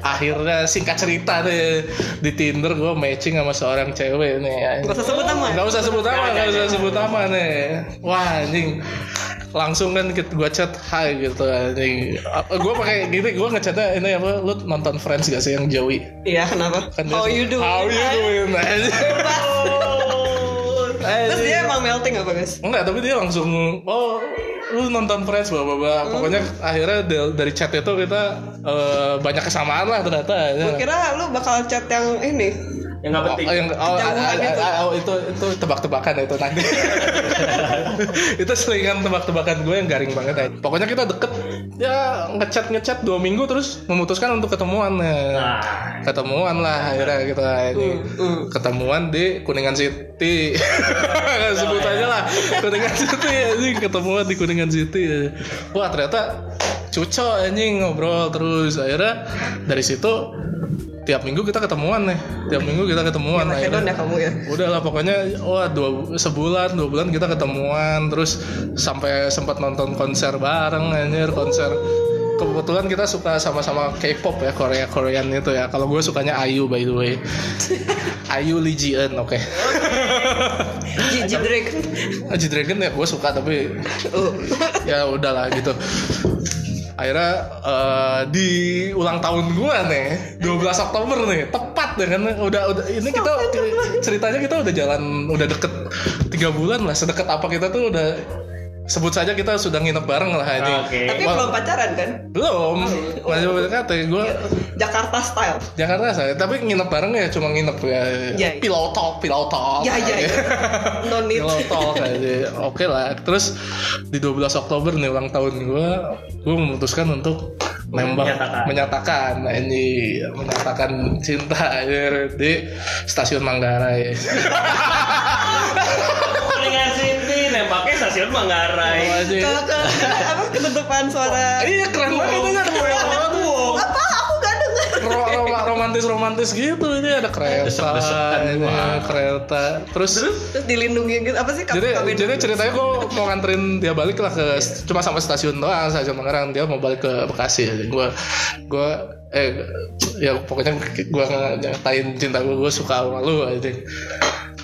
akhirnya singkat cerita deh di Tinder gue matching sama seorang cewek nih gak usah sebut nama nggak usah sebut nama nggak usah sebut nama nih wah anjing langsung kan gue chat hai gitu anjing gue pakai gini gue ngechatnya ini apa lu nonton Friends gak sih yang Joey iya kenapa Kan dia how suka, you doing how you doing terus dia emang melting apa guys Enggak, tapi dia langsung oh lu nonton Friends bapak bapak pokoknya akhirnya da- dari chat itu kita eh, banyak kesamaan lah ternyata Gua kira lu bakal chat yang ini yang nggak penting Oh, yang, oh, ah, Kejauhan ah, gitu. ah, ah, itu itu tebak-tebakan itu nanti. itu selingan tebak-tebakan gue yang garing banget aja. Pokoknya kita deket ya ngechat ngechat dua minggu terus memutuskan untuk ketemuan nah. nah Ketemuan lah akhirnya kita ini ketemuan di Kuningan City. Sebut aja lah Kuningan City anjing ketemuan di Kuningan City. ya. Wah ternyata cocok anjing ngobrol terus akhirnya dari situ tiap minggu kita ketemuan nih tiap minggu kita ketemuan Hedon ya akhirnya kamu ya. udah lah pokoknya wah dua sebulan dua bulan kita ketemuan terus sampai sempat nonton konser bareng anjir konser kebetulan kita suka sama-sama K-pop ya Korea Korean itu ya kalau gue sukanya IU by the way IU Lee Ji Eun oke Gigi Drake. G Dragon ya gue suka tapi Oh. ya udahlah gitu akhirnya eh, di ulang tahun gua nih 12 Oktober nih tepat dengan udah udah ini kita ceritanya kita udah jalan udah deket tiga bulan lah sedekat apa kita tuh udah sebut saja kita sudah nginep bareng lah ini oke Tapi Wah. belum iya. pacaran kan? belum masih PDKT gue Jakarta style. Jakarta saya tapi nginep bareng ya cuma nginep ya Ya, ya. pillow talk pillow talk Ya ya. ya. No need. Pillow talk aja. Oke lah. Terus di 12 Oktober nih ulang tahun gue, gue memutuskan untuk nembak Menyatakan. menyatakan, ini menyatakan cinta ya, di stasiun Manggarai. dengan Cinti nembaknya stasiun Manggarai Oh, Ke, anjing. ke, apa ketutupan suara? Iya keren banget ini ada kereta, Apa aku gak denger? ro- ro- romantis romantis gitu ini ada kereta, Desek-desekan ini gua. kereta. Terus Terus dilindungi gitu. Apa sih? jadi Kamu jadi ceritanya gue mau nganterin dia balik lah ke cuma sampai stasiun doang stasiun Tangerang dia mau balik ke Bekasi gue gue eh ya pokoknya gue nyatain cinta gue gue suka sama lu aja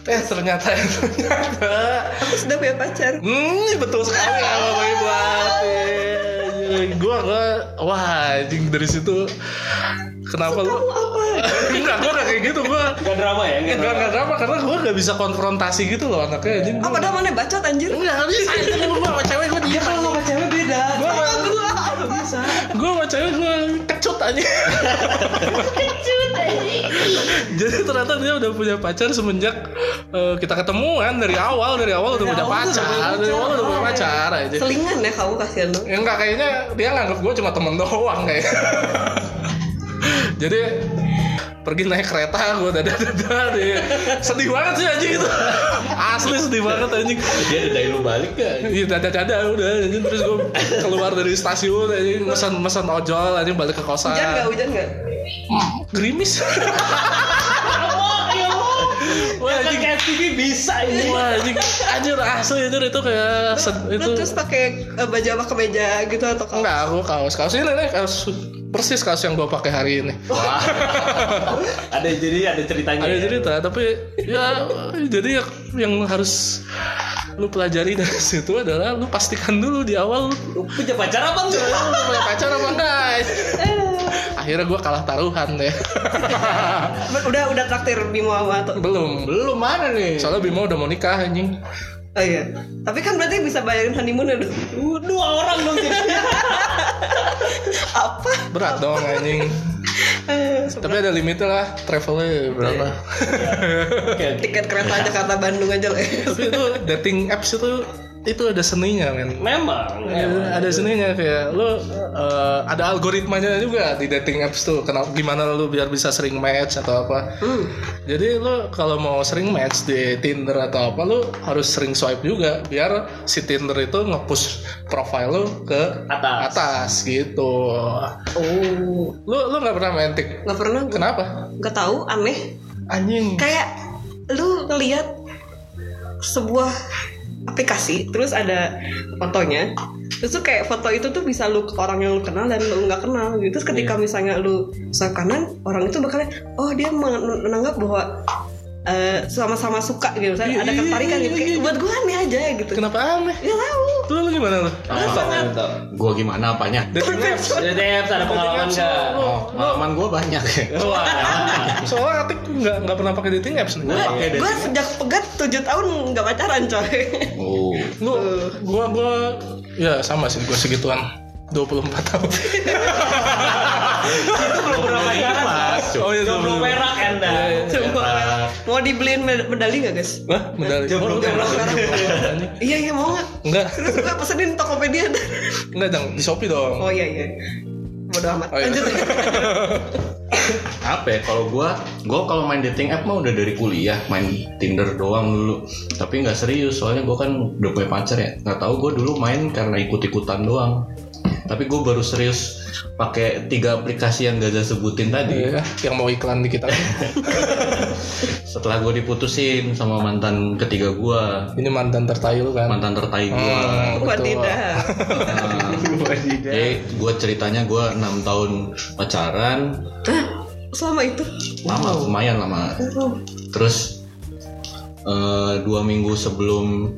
eh ternyata ternyata Aku sudah punya pacar. hmm betul sekali sama baik hati gue gue wah anjing dari situ kenapa lu Apa? enggak gue udah kayak gitu gue gak drama ya gak enggak drama enggak apa karena gue gak bisa konfrontasi gitu loh anaknya anjing Ah padahal mana bacot anjir. Enggak bisa itu gue sama cewek gue dia Iya, kalau sama cewek beda. Gue sama Gua apa? bisa. Iya. Gue sama cewek gue kecut aja. Jadi ternyata dia udah punya pacar semenjak eh, kita ketemuan dari awal dari awal udah punya awal tuh udah pacar punya dari awal udah punya pacar. pacar aja. Selingan ya kamu kasihan dong. Ya enggak kayaknya dia nganggap gue cuma temen doang kayak. Jadi pergi naik kereta gue dada dada deh sedih banget sih anjing itu asli sedih banget anjing Dia ada dari lu balik gak? Iya dada dada udah anjing terus gue keluar dari stasiun anjing pesan pesan ojol anjing balik ke kosan. Hujan nggak hujan nggak? Gerimis. Iya, Wah Kan anjing. kayak TV bisa ini Wah anjing. Anjir asli anjir itu kayak set, Lu itu terus pakai eh, baju apa kemeja gitu atau kaos? enggak aku kaos kaos ini nih kaos persis kaos yang gue pakai hari ini. Oh, ada jadi ada ceritanya Ada iya. ya. cerita tapi ya jadi ya- yang harus lu pelajari dari situ adalah lu pastikan dulu di awal lu Lu punya pacar apa enggak Eh. lu punya pacar apa enggak. Akhirnya gue kalah taruhan deh. Udah udah traktir Bimo sama atau Belum. Belum mana nih? Soalnya Bimo udah mau nikah anjing. Oh iya. Tapi kan berarti bisa bayarin honeymoon ya, dong. Dua- dua orang dong jadi Apa? Berat dong anjing. Eh, Tapi ada limitnya lah travelnya berapa. Tiket kereta Jakarta Bandung aja lah. ya. Tapi itu dating apps itu itu ada seninya men. memang memang. Ada seninya kayak lu eh, ada algoritmanya juga di dating apps tuh. Kenapa gimana lu biar bisa sering match atau apa. Jadi lu kalau mau sering match di Tinder atau apa lu harus sering swipe juga biar si Tinder itu nge-push profile lu ke atas atas gitu. Oh, Lu lu nggak pernah main tik? nggak pernah. gua. Kenapa? Nggak tahu, aneh. Anjing. Kayak lu ngelihat sebuah aplikasi, terus ada fotonya. Terus tuh kayak foto itu tuh bisa lu ke orang yang lu kenal dan lu nggak kenal gitu. Terus Iya. ketika misalnya lu swipe kanan, orang itu bakal oh dia men- menanggap bahwa eh, sama-sama suka gitu, Iya, misalnya ada iya, ketarikan iya, gitu. Kayak, iya. buat gue aneh aja gitu. Kenapa aneh? Ya tahu. Lu, lu gimana lu? Gua gimana apanya? Dating apps. Jadi Debs, ada pengalaman enggak? Lu- Pengalaman gua banyak Wah. Soalnya Atik nggak nggak pernah pakai dating apps. Gua pakai deh. Gue sejak pegat 7 tahun nggak pacaran coy. Oh. Lu, gua gua ya sama sih gua segituan. 24 tahun itu belum pernah pacaran Mas. Oh iya, belum. Jomblo perak anda Iya, Coba mau dibeliin med- medali nggak guys? Wah, medali. Oh, Jomblo jomblo perak. perak. Anjing. Iya iya mau nggak? Enggak, Terus gue pesenin Tokopedia. enggak dong, di Shopee dong. Oh iya iya. Bodoh amat. Oh, iya. Lanjut. apa ya kalau gua gua kalau main dating app mah udah dari kuliah main Tinder doang dulu tapi nggak serius soalnya gua kan udah punya pacar ya nggak tahu gua dulu main karena ikut ikutan doang tapi gua baru serius pakai tiga aplikasi yang Gaza sebutin tadi Iya, yang mau iklan di kita. setelah gua diputusin sama mantan ketiga gua Ini mantan tertai lu kan. mantan tertai gua Hmm, Buat betul. tidak. Nah, jadi gua ceritanya gua enam tahun pacaran Selama itu. lama lumayan lama terus eh, dua minggu sebelum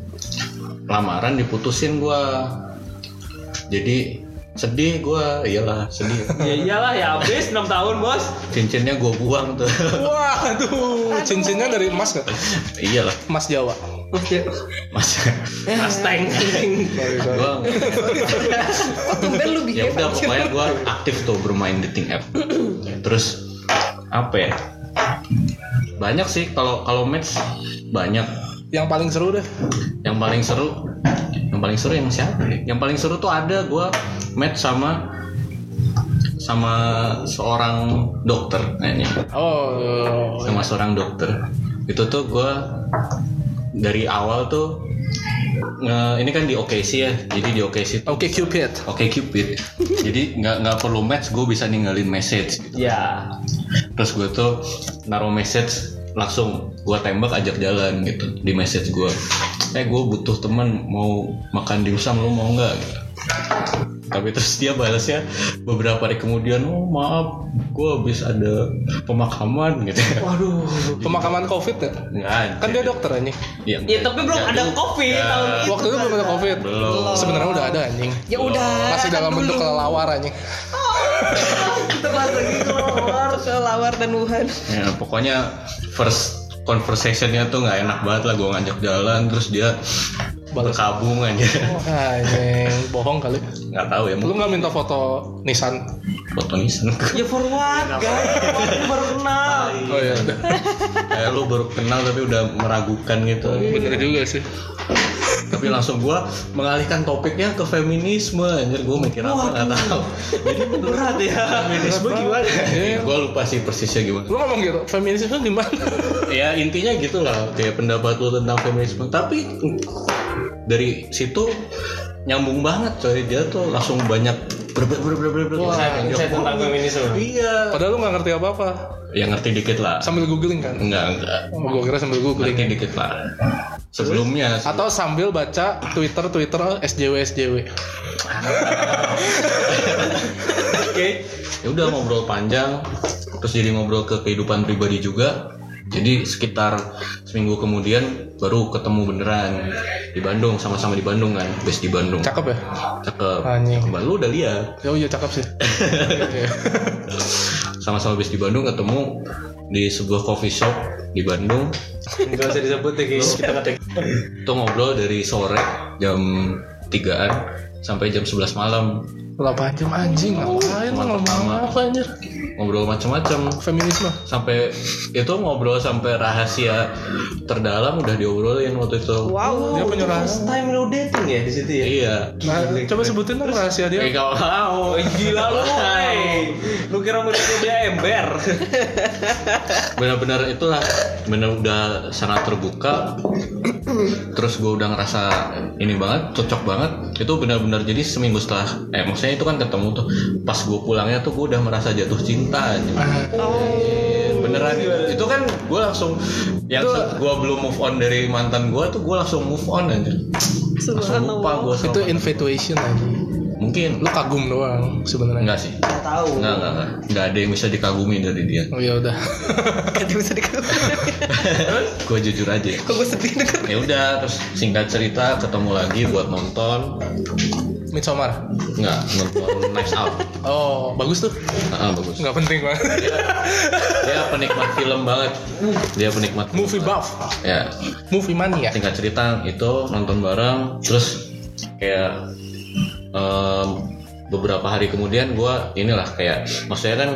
lamaran diputusin gua jadi sedih gua iyalah sedih ya iyalah ya habis 6 tahun bos cincinnya gua buang tuh Wah, aduh, cincinnya dari emas nggak? iyalah Emas Jawa. Oke. mas Mustang Sorry, sorry. gua Kok tumben lu ya behave udah anjir? pokoknya gua aktif tuh bermain dating app terus apa ya banyak sih kalau kalau match banyak Yang paling seru deh. yang paling seru yang paling seru yang siapa ya? yang paling seru tuh ada gua match sama sama seorang dokter kayaknya Oh, sama seorang dokter itu tuh gua dari awal tuh nge- ini kan di OKC ya jadi di OKC tuh oke Cupid. Oke Cupid jadi nggak nggak perlu match gue bisa ninggalin message gitu. ya terus gue tuh naruh message langsung gue tembak ajak jalan gitu di message gue eh gue butuh teman mau makan dimsum lu mau nggak gitu. tapi terus dia balasnya beberapa hari kemudian oh maaf gue habis ada pemakaman gitu Waduh, pemakaman COVID ya? nggak Kan dia Iya, dokter anjing. ya, ya tapi belum ada covid tahun itu Ya. kan? Waktu itu belum ada COVID. Belum. Sebenarnya udah ada anjing. Ya udah. Masih dalam bentuk kelelawar anjing. Kita bahas lagi gitu. kelawar, kelawar dan Wuhan. Ya, pokoknya first conversationnya tuh nggak enak banget lah gue ngajak jalan terus dia Balas. berkabung aja Anjing, bohong kali. nggak tahu ya Lu mungkin nggak minta foto Nissan? foto nisan ya for what guys Orang baru kenal Oh iya, udah. kayak lu baru kenal tapi udah meragukan gitu bener juga sih. tapi langsung gua mengalihkan topiknya ke feminisme anjir gua mikir apa nggak tahu jadi berat ya feminisme gimana Iya. gua lupa sih persisnya gimana Lu ngomong gitu, feminisme gimana? ya intinya gitulah kayak pendapat lu tentang feminisme tapi dari situ nyambung banget coy dia tuh langsung banyak ber ber ber ber ber ber Wah, saya tentang feminisme iya Padahal lu nggak ngerti apa-apa. ya ngerti dikit lah Sambil googling kan? enggak enggak Oh, gua kira sambil ngerti googling. ya. dikit lah sebelumnya Atau sambil baca Twitter Twitter SJW SJW. oke ya udah ngobrol panjang terus jadi ngobrol ke kehidupan pribadi juga jadi sekitar seminggu kemudian baru ketemu beneran di Bandung sama-sama di Bandung kan base di Bandung Cakep ya? cakep Anjing. Mbak, lu udah lihat Oh iya cakep sih. Iya, iya. sama-sama base di Bandung ketemu di sebuah coffee shop di Bandung nggak usah disebut ya guys kita ngetik itu ngobrol dari sore jam 3an sampai jam 11 malam 8 jam anjing ngapain lu ngomong apa anjir? ngobrol macam-macam Feminisme. sampai itu ngobrol sampai rahasia terdalam udah diobrolin waktu itu Wow. Dia punya rahasia. time lo dating ya di situ ya Iya. Nah, coba sebutin dong rahasia Eh dia. kalau mau. Oh, gila lu, woy. Lu kira mau disuruh dia ember? Benar-benar itulah. Benar udah sangat terbuka. Terus gue udah ngerasa ini banget, cocok banget. Itu benar-benar jadi seminggu setelah, eh maksudnya itu kan ketemu tuh. Pas gue pulangnya tuh gue udah merasa jatuh cinta. aja. Beneran itu kan gue langsung yang gue belum move on dari mantan gue tuh gue langsung move on aja. kan Langsung lupa Subhanallah. gue sama. Itu infatuation anjing. Mungkin Lu kagum doang sebenarnya. enggak sih. Nggak tahu. Enggak, enggak, enggak. Enggak ada yang bisa dikagumi dari dia. Oh ya udah. Gak bisa diketahui. Gue jujur aja. Kok gue sedih denger. ya udah terus singkat cerita ketemu lagi buat nonton Midsommar. nggak nonton Knives Out Oh, bagus tuh. Ah, bagus Nggak penting banget. dia penikmat film banget dia penikmat film Movie banget. buff. ya Movie mania. singkat cerita itu nonton bareng terus kayak em, beberapa hari kemudian gue inilah kayak maksudnya kan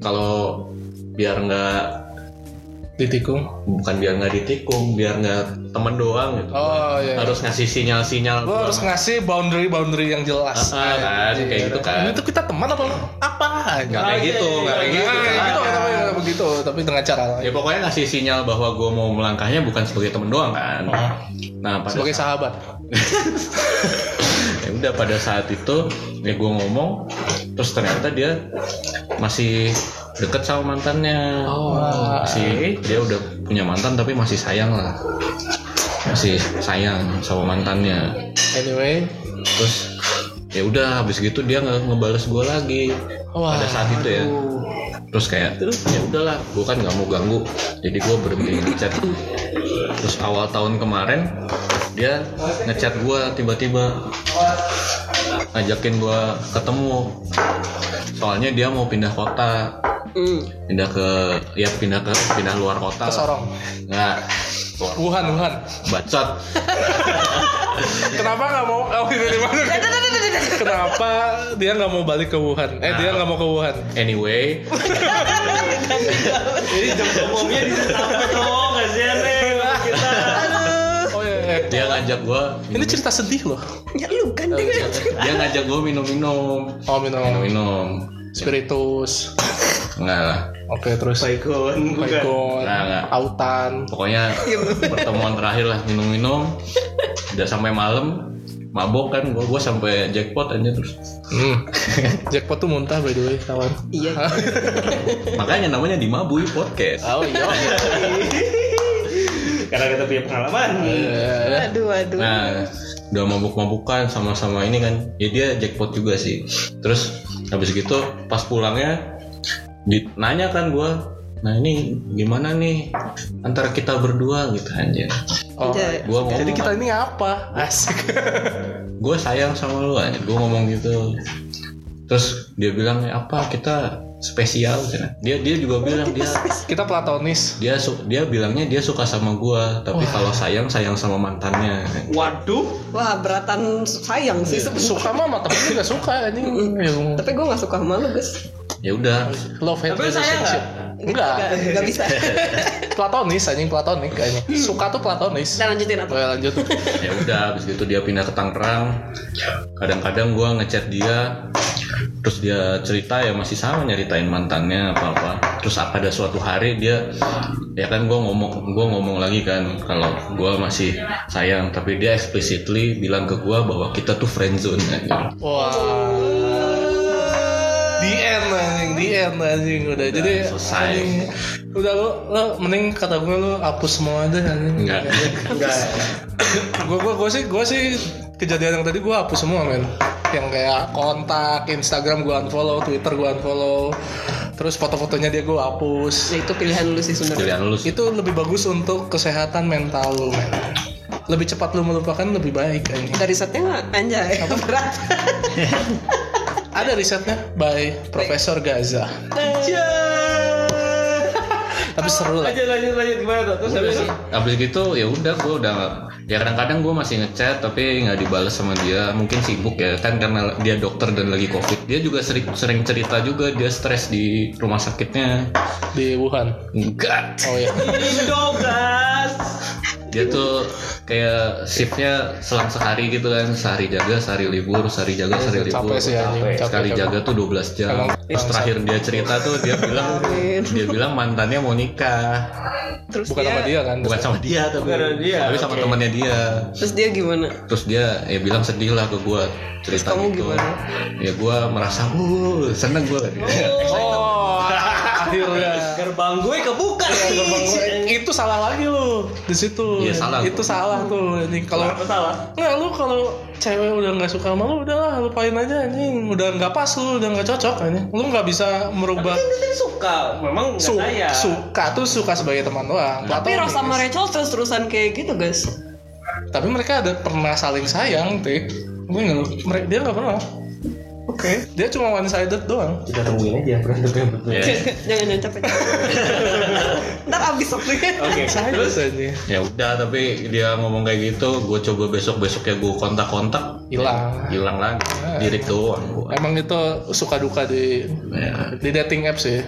kalau biar nggak ditikung bukan biar nggak ditikung biar nggak temen doang gitu oh iya harus ngasih sinyal-sinyal lo harus ngasih boundary boundary yang jelas Ah, ah, kan, Iya. kayak gitu kan. ini tuh kita teman apa apa nggak Iya, kayak gitu nggak kayak gitu Nggak kayak kan. gitu tapi nggak begitu tapi dengan cara ya lain pokoknya ngasih sinyal bahwa gue mau melangkahnya bukan sebagai temen doang kan nah pada Ah. sebagai sahabat ya udah pada saat itu ya gue ngomong terus ternyata dia masih deket sama mantannya Oh, Wah. ah. masih dia udah punya mantan tapi masih sayang lah masih sayang sama mantannya anyway terus ya udah habis gitu dia nggak ngebales gue lagi Wah, pada saat itu ya aduh. terus kayak ya udahlah gue kan nggak mau ganggu jadi gue berhenti ngechat terus awal tahun kemarin dia ngechat gue tiba-tiba ngajakin gue ketemu soalnya dia mau pindah kota Hmm. pindah ke ya pindah ke pindah luar ke kota lah. Sorong nggak luar Wuhan Wuhan bacot kenapa nggak mau oh, ini di mana? kenapa dia nggak mau balik ke Wuhan eh dia nggak mau ke Wuhan anyway Jadi jam ngomongnya di apa dong? Oh, Kasihan nih kita. oh iya, iya. dia ngajak gue ini cerita sedih loh Ya lu kan iya. dia ngajak gue minum-minum oh minum minum-minum spiritus enggak lah oke terus Baikon, bukan. Baikon, Nah, nggak. autan pokoknya pertemuan terakhir lah minum-minum udah sampai malam mabok kan gua gua sampai jackpot aja terus Hmm. Jackpot tuh muntah by the way kawan. Iya. makanya namanya dimabui podcast Oh iya. Karena kita punya pengalaman. Aduh aduh. nah udah mabuk-mabukan sama-sama ini kan ya dia jackpot juga sih terus habis gitu pas pulangnya ditanya kan gua nah ini gimana nih antara kita berdua gitu anjir Oh. Jadi- gua ngomong Jadi kita ini apa? Asik. gue sayang sama lu aja gue ngomong gitu terus dia bilang apa kita spesial cina. dia dia juga bilang dia kita platonis. dia su- dia bilangnya dia suka sama gue tapi kalau sayang sayang sama mantannya Waduh, Wah beratan sayang Iya. sih sebenarnya. Suka mah sama temen juga suka anjing. Ya, Tapi gue gak suka sama lu guys. ya udah Love hate Tapi lu sayang relationship. Enggak. Gak, gak bisa. Platonis anjing platonik anjing. Suka tuh platonis. Kita lanjutin apa? Oke lanjut. ya udah habis gitu dia pindah ke Tangerang kadang-kadang gue ngechat dia terus dia cerita ya masih sama nyeritain mantannya apa apa terus apa ada suatu hari dia ya kan gue ngomong gue ngomong lagi kan kalau gue masih sayang tapi dia explicitly bilang ke gue bahwa kita tuh friendzone aja. Wah. Di end anjing, di end anjing udah. Jadi selesai. anjing, udah lu, lu mending kata gue lu hapus semua deh anjing. enggak enggak. gue gue gue sih gue sih kejadian yang tadi gue hapus semua men yang kayak kontak Instagram gue unfollow Twitter gue unfollow terus foto-fotonya dia gue hapus Ya itu pilihan lu sih sebenarnya. pilihan lu sih. itu lebih bagus untuk kesehatan mental lu men lebih cepat lu melupakan lebih baik anjing. Dari setnya nggak anjay. Berat. ada risetnya by Profesor Gaza tapi seru lah Lanjut, lanjut, lanjut gimana tuh? Terus habis itu? Abis gitu ya udah gue udah ya kadang-kadang gue masih ngechat tapi nggak dibales sama dia mungkin sibuk ya kan karena dia dokter dan lagi covid dia juga sering sering cerita juga dia stres di rumah sakitnya di Wuhan enggak oh ya Indo gas. dia tuh kayak shiftnya selang sehari gitu kan sehari jaga sehari libur sehari jaga sehari libur Iya, capek sih anjing Capek. capek, sekali capek. jaga tuh 12 jam Emang terus terakhir dia cerita tuh dia bilang Amin. dia bilang mantannya mau nikah Terus bukan dia, sama dia kan bukan sama dia tapi Bukan sama dia, tapi sama oke. temannya dia Terus dia gimana? terus dia ya bilang sedih lah ke gue cerita kamu gitu gimana? ya gue merasa uh seneng gue oh Iya. akhirnya Gerbang gue kebuka nih. itu salah lagi lu di situ Iya, salah. itu salah tuh anjing kalau Apa salah? nggak lu kalau cewek udah nggak suka sama lu udahlah lupain aja anjing udah nggak pas lu udah nggak cocok anjing lu nggak bisa merubah Ini tadi suka, memang nggak Su- saya. suka tuh suka sebagai teman doang Tapi Platonis. Ross sama Rachel terus terusan kayak gitu guys. tapi mereka ada pernah saling sayang teh gue nggak mere- dia nggak pernah Oke. dia cuma one sided doang Kita tungguin aja berantem yang betul. ya, Eh. Jangan jangan capek. Ntar abis waktunya. Oke, terus terus aja ya udah tapi dia ngomong kayak gitu gue coba besok besoknya gue kontak kontak hilang. hilang lagi dirik doang gua Emang itu suka duka di Ya. di dating apps sih.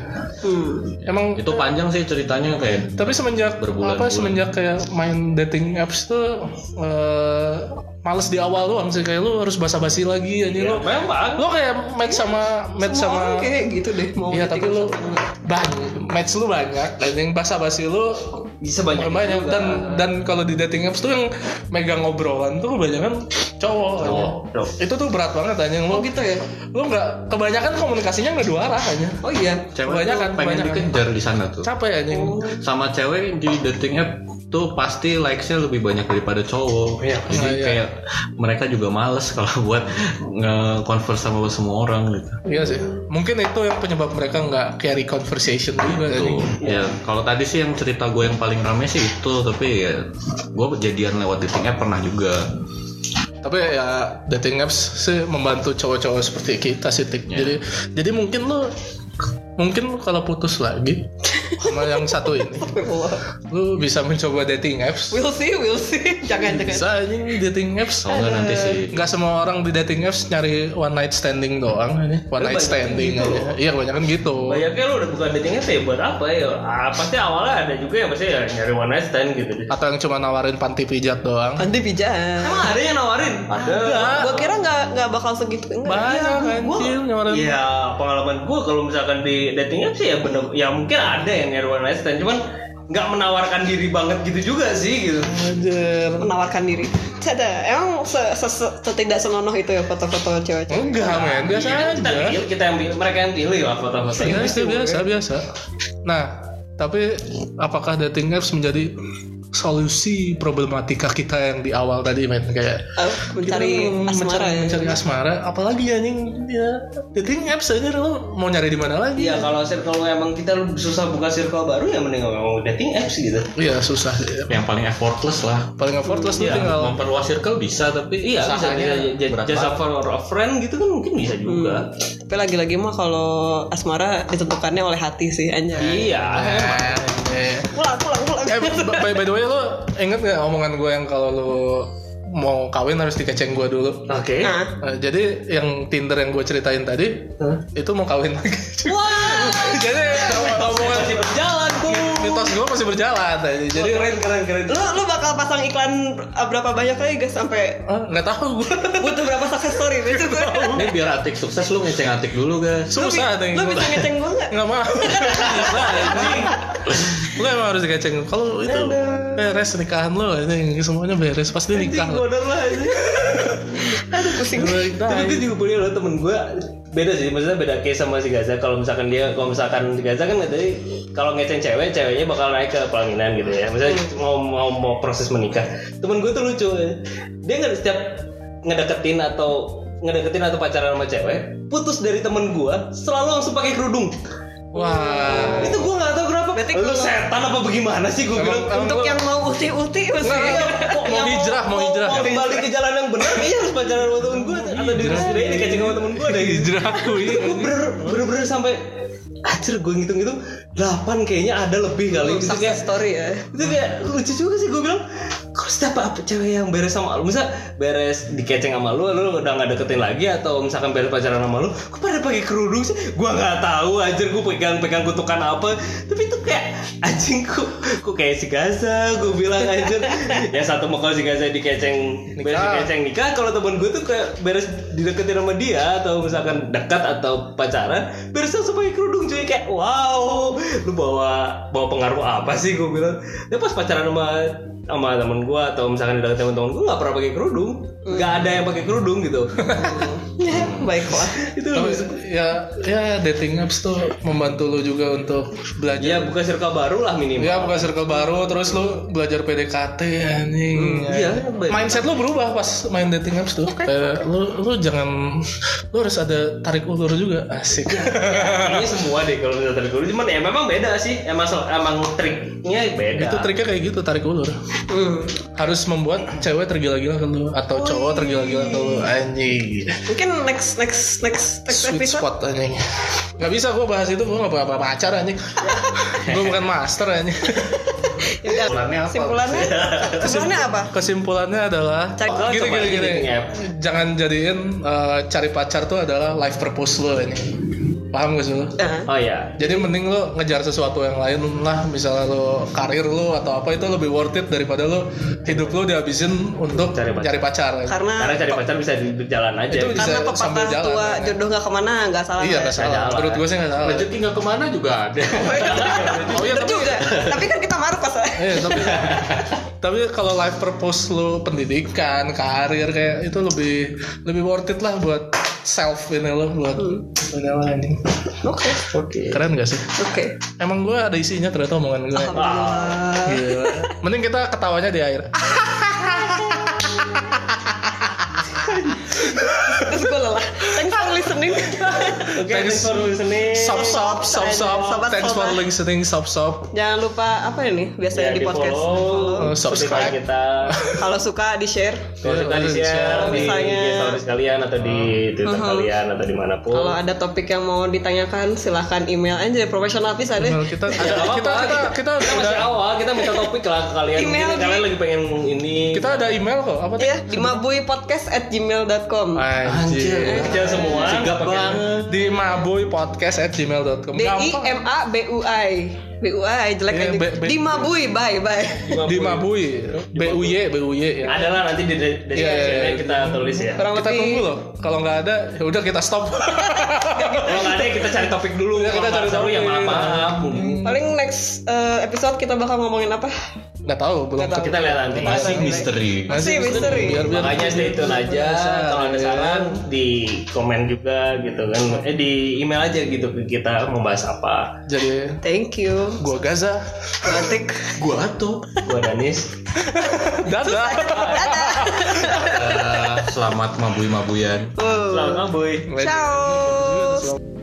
Hmm. Emang itu panjang sih ceritanya kayak tapi semenjak Berbulan-bulan. apa semenjak kayak main dating apps tuh eh, males di awal doang sih kayak lu harus basa-basi lagi anjing lu. Iya, memang Lu kayak match sama match Iya. Semua sama orang kayak gitu deh mau Iya tapi ketika lu sama- banyak match lu banyak dan yang basa-basi lu bisa banyak banyak, banyak. juga. dan dan kalau di dating apps tuh yang megang obrolan tuh kebanyakan cowok. Iya. Cowok. Tuh. Itu tuh berat banget anjing Oh lu. gitu ya? Lu nggak kebanyakan komunikasinya nggak dua arah anjing. Oh iya. cewek Banyak tuh kan, pengen banyak kan. dikejar di sana tuh Capek anjing. sama cewek di dating app tuh pasti likes-nya lebih banyak daripada cowok. Iya, Jadi iya. kayak mereka juga males kalau buat nge-converse sama semua orang gitu. Iya sih. Mungkin itu yang penyebab mereka nggak carry conversation juga Tuh. anjing. Ya, kalau tadi sih yang cerita gue yang paling rame sih itu, tapi ya gue kejadian lewat dating app pernah juga. Tapi ya dating apps sih membantu cowok-cowok seperti kita sih Tik. Ya. Jadi jadi mungkin lu mungkin lu kalau putus lagi sama yang satu ini Astagfirullah. lu bisa mencoba dating apps We'll see, we'll see. Jangan, jangan. bisa anjing dating apps Oh, Kalau nggak nanti sih nggak semua orang di dating apps nyari one night standing doang ini one night banyak standing gitu. aja. iya kebanyakan gitu Banyaknya lu udah bukan dating apps ya buat apa ya? Ah, pasti awalnya ada juga yang pasti ya nyari one night stand gitu. atau yang cuma nawarin panti pijat doang Nanti pijat. Emang ada yang nawarin? Ada. Gua kira nggak nggak bakal segitu enggak. banyak Iya, gua- anjing nawarin Iya, pengalaman gue kalau misalkan di dating apps ya bener, ya mungkin ada yang nyari one night stand, cuman nggak menawarkan diri banget gitu juga sih gitu. Anjir. menawarkan diri. Cada, emang se, se, se- setidak senonoh itu ya foto-foto cewek-cewek. enggak men biasa Iya, Kita, aja pilih- kita yang pilih, mereka yang pilih lah foto-foto. Iya, itu biasa biasa. Nah, tapi apakah dating apps menjadi solusi problematika kita yang di awal tadi men kayak Ah, mencari kita kan asmara mencari, ya. mencari asmara apalagi anjing ya dating apps aja lu mau nyari di mana lagi Iya, kalau circle emang kita susah buka circle baru ya mending ngomong dating apps gitu. iya susah sih. yang paling effortless lah. paling effortless lu Iya, tinggal memperluas circle bisa tapi Iya, bisa, usahanya bisa j- berat jasa banget. for a friend gitu kan mungkin bisa juga. Tapi lagi-lagi mah kalau asmara ditentukannya oleh hati sih anjay. Iya, emang. Eh, Pulang, pulang, pulang. eh, by, by the way lu inget gak omongan gue yang kalau lu mau kawin harus dikeceng gue dulu Oke. Nah. Nah, jadi yang Tinder yang gue ceritain tadi itu mau kawin lagi. Wah, jadi omongan Masih berjalan tuh. mitos gue masih berjalan tadi. Jadi keren keren keren. lu lu bakal pasang iklan eh, berapa banyak lagi guys sampai ah, nggak tahu gue butuh berapa success story besok gue. Ini biar atik sukses lu ngeceng atik dulu guys. susah tuh Lu bisa ngeceng gue nggak? nggak mau. Susah, anjing. Lu emang harus dikeceng. Kalau itu beres nikahan lo, ini semuanya beres pasti nikah. lo. Bener lah ini. Aduh pusing. Tapi itu juga punya loh temen gue beda sih maksudnya beda case sama si Gaza kalau misalkan dia kalau misalkan si Gaza kan tadi kalau ngeceng cewek ceweknya bakal naik ke pelaminan gitu ya misalnya mau mau mau proses menikah temen gue tuh lucu ya. dia nggak setiap ngedeketin atau ngedeketin atau pacaran sama cewek putus dari temen gue selalu langsung pakai kerudung Wah. itu gue nggak tahu kenapa Berarti lu kalau- setan apa bagaimana sih gue Emang- bilang emang Untuk gua- yang mau uti-uti Iya, maksudnya. Kok Iya, Mau hijrah, mau hijrah. mau kembali ke jalan yang benar kayaknya harus pacaran sama temen gue atau di sendiri dikasih sama temen gue deh gitu Hijrah aku iya. ini. gue bener bener bener sampai anjir gue ngitung ngitung 8 kayaknya ada lebih kali itu kayak Success story ya. itu kayak lucu juga sih gue bilang kok setiap apa cewek yang beres sama lu misal beres dikeceng sama lu lu udah nggak deketin lagi atau misalkan beres pacaran sama lu kok pada pakai kerudung sih gue nggak tahu anjir gue pegang pegang kutukan apa tapi itu kayak anjing kok kok kayak si Gaza gue bilang anjir yang satu mau kalau si Gaza dikeceng beres Nikah. dikeceng nikah kalau temen gue tuh kayak beres dideketin sama dia atau misalkan dekat atau pacaran beres langsung pakai kerudung cuy kayak wow lu bawa bawa pengaruh apa sih gue bilang dia pas pacaran sama sama temen gue atau misalkan di dekat temen-temen gue nggak pernah pakai kerudung nggak ada yang pakai kerudung gitu Iya, Baiklah. itu Tapi, lucu. ya ya dating apps tuh membantu lu juga untuk belajar ya buka circle baru lah minimal Iya bukan circle baru terus lu belajar PDKT anjing. Ya. Hmm, iya, baik. Mindset lu berubah pas main dating apps tuh. Kayak lu lu jangan lu harus ada tarik ulur juga. Asik. Ya. Kayaknya semua deh kalau misalnya tarik kerudung cuman ya memang beda sih emang emang triknya beda Itu triknya kayak gitu tarik ulur. Hmm. Harus membuat cewek tergila-gila ke lu atau cowok tergila-gila ke lu anjing. Mungkin next next next next Sweet episode spot anjing. Gak bisa gua bahas itu gua gak apa-apa pacar anjing. gua bukan master anjing. Yaudah, Kesimpulannya apa? Simpulannya? ya, Kesimpulannya apa? Kesimpulannya adalah Cari pacar. gini gini gini. Dating app. Jangan jadiin eh, cari pacar tuh adalah life purpose lo ini. Paham gak sih lo? Nah, Oh ya. Jadi mending lo ngejar sesuatu yang lain lah, misalnya lo karir lo atau apa itu lebih worth it daripada lo hidup lo dihabisin untuk Cari cari pacar. pacar. Iya, karena Karena cari pacar bisa di di jalan aja. Itu bisa karena sambil pepatah jalan, tua kan? jodoh nggak kemana nggak salah. Iya ya? nggak Nggak salah. salah. Menurut gue sih nggak salah. Rezeki nggak kemana juga ada. Oh iya Bener tapi juga. Tapi kan kita maruk pas. Iya, tapi tapi kalau life purpose lu pendidikan, karir kayak itu lebih lebih worth it lah buat self ini lo buat ini lo ini. Oke. Oke. Keren gak sih? Oke. Emang gue ada isinya ternyata omongan gue. Alhamdulillah. Iya, Gila. Mending kita ketawanya di air. Terus gue lelah. Thanks for listening. Oke, Thanks. thanks for listening. Sop sop iya, sop sop. Sobat-sobat. Thanks for listening sop sop. Jangan lupa apa ini biasanya Ya, di podcast. Iya, Follow, follow, subscribe. Iya, kita. Kalau suka di share. Kalau kita di share Kalau di misalnya- IG stories kalian atau di Twitter Uh-huh. kalian atau Oh. dimanapun. Kalau ada topik yang mau ditanyakan silahkan email aja profesional bisa deh. Email kita Ya, ada nggak kita apa-apa. kita kita kita udah masih awal, kita minta topik lah ke kalian. Email Mungkin di- kalian lagi pengen ini. kita ada email kok. Apa Iya, di mabuipodcast@gmail.com. Anjir. Kerja semua. Sigap pakai- banget. Di maboypodcast@gmail.com. B I M Gampang. A B U I. B U I jelek Iya, aja. B- B- Di mabui, bye bye. Di Mabui, B U Y, B U Y ya. Ada lah nanti di description Iya, iya, iya. kita tulis ya. Kurang kita lebih- tunggu loh kalau nggak ada ya udah kita stop Kalau nggak ada kita cari topik dulu. Iya, kita Kalau cari nggak seru topik. Hmm. ya maaf maaf. Paling next eh, episode kita bakal ngomongin apa? nggak tahu belum Nggak tahu. ketemu. Kita lihat nanti. Masih misteri. Masih misteri. biar biar Makanya stay tune aja. Kalau ada saran di komen juga gitu kan. Eh di email aja gitu ke kita membahas apa. jadi Thank you. gua Gaza Batik. Gua tuh. Gua Danis. dadah Eh, selamat mabui mabuyan. Oh. Selamat mabuy. Ciao.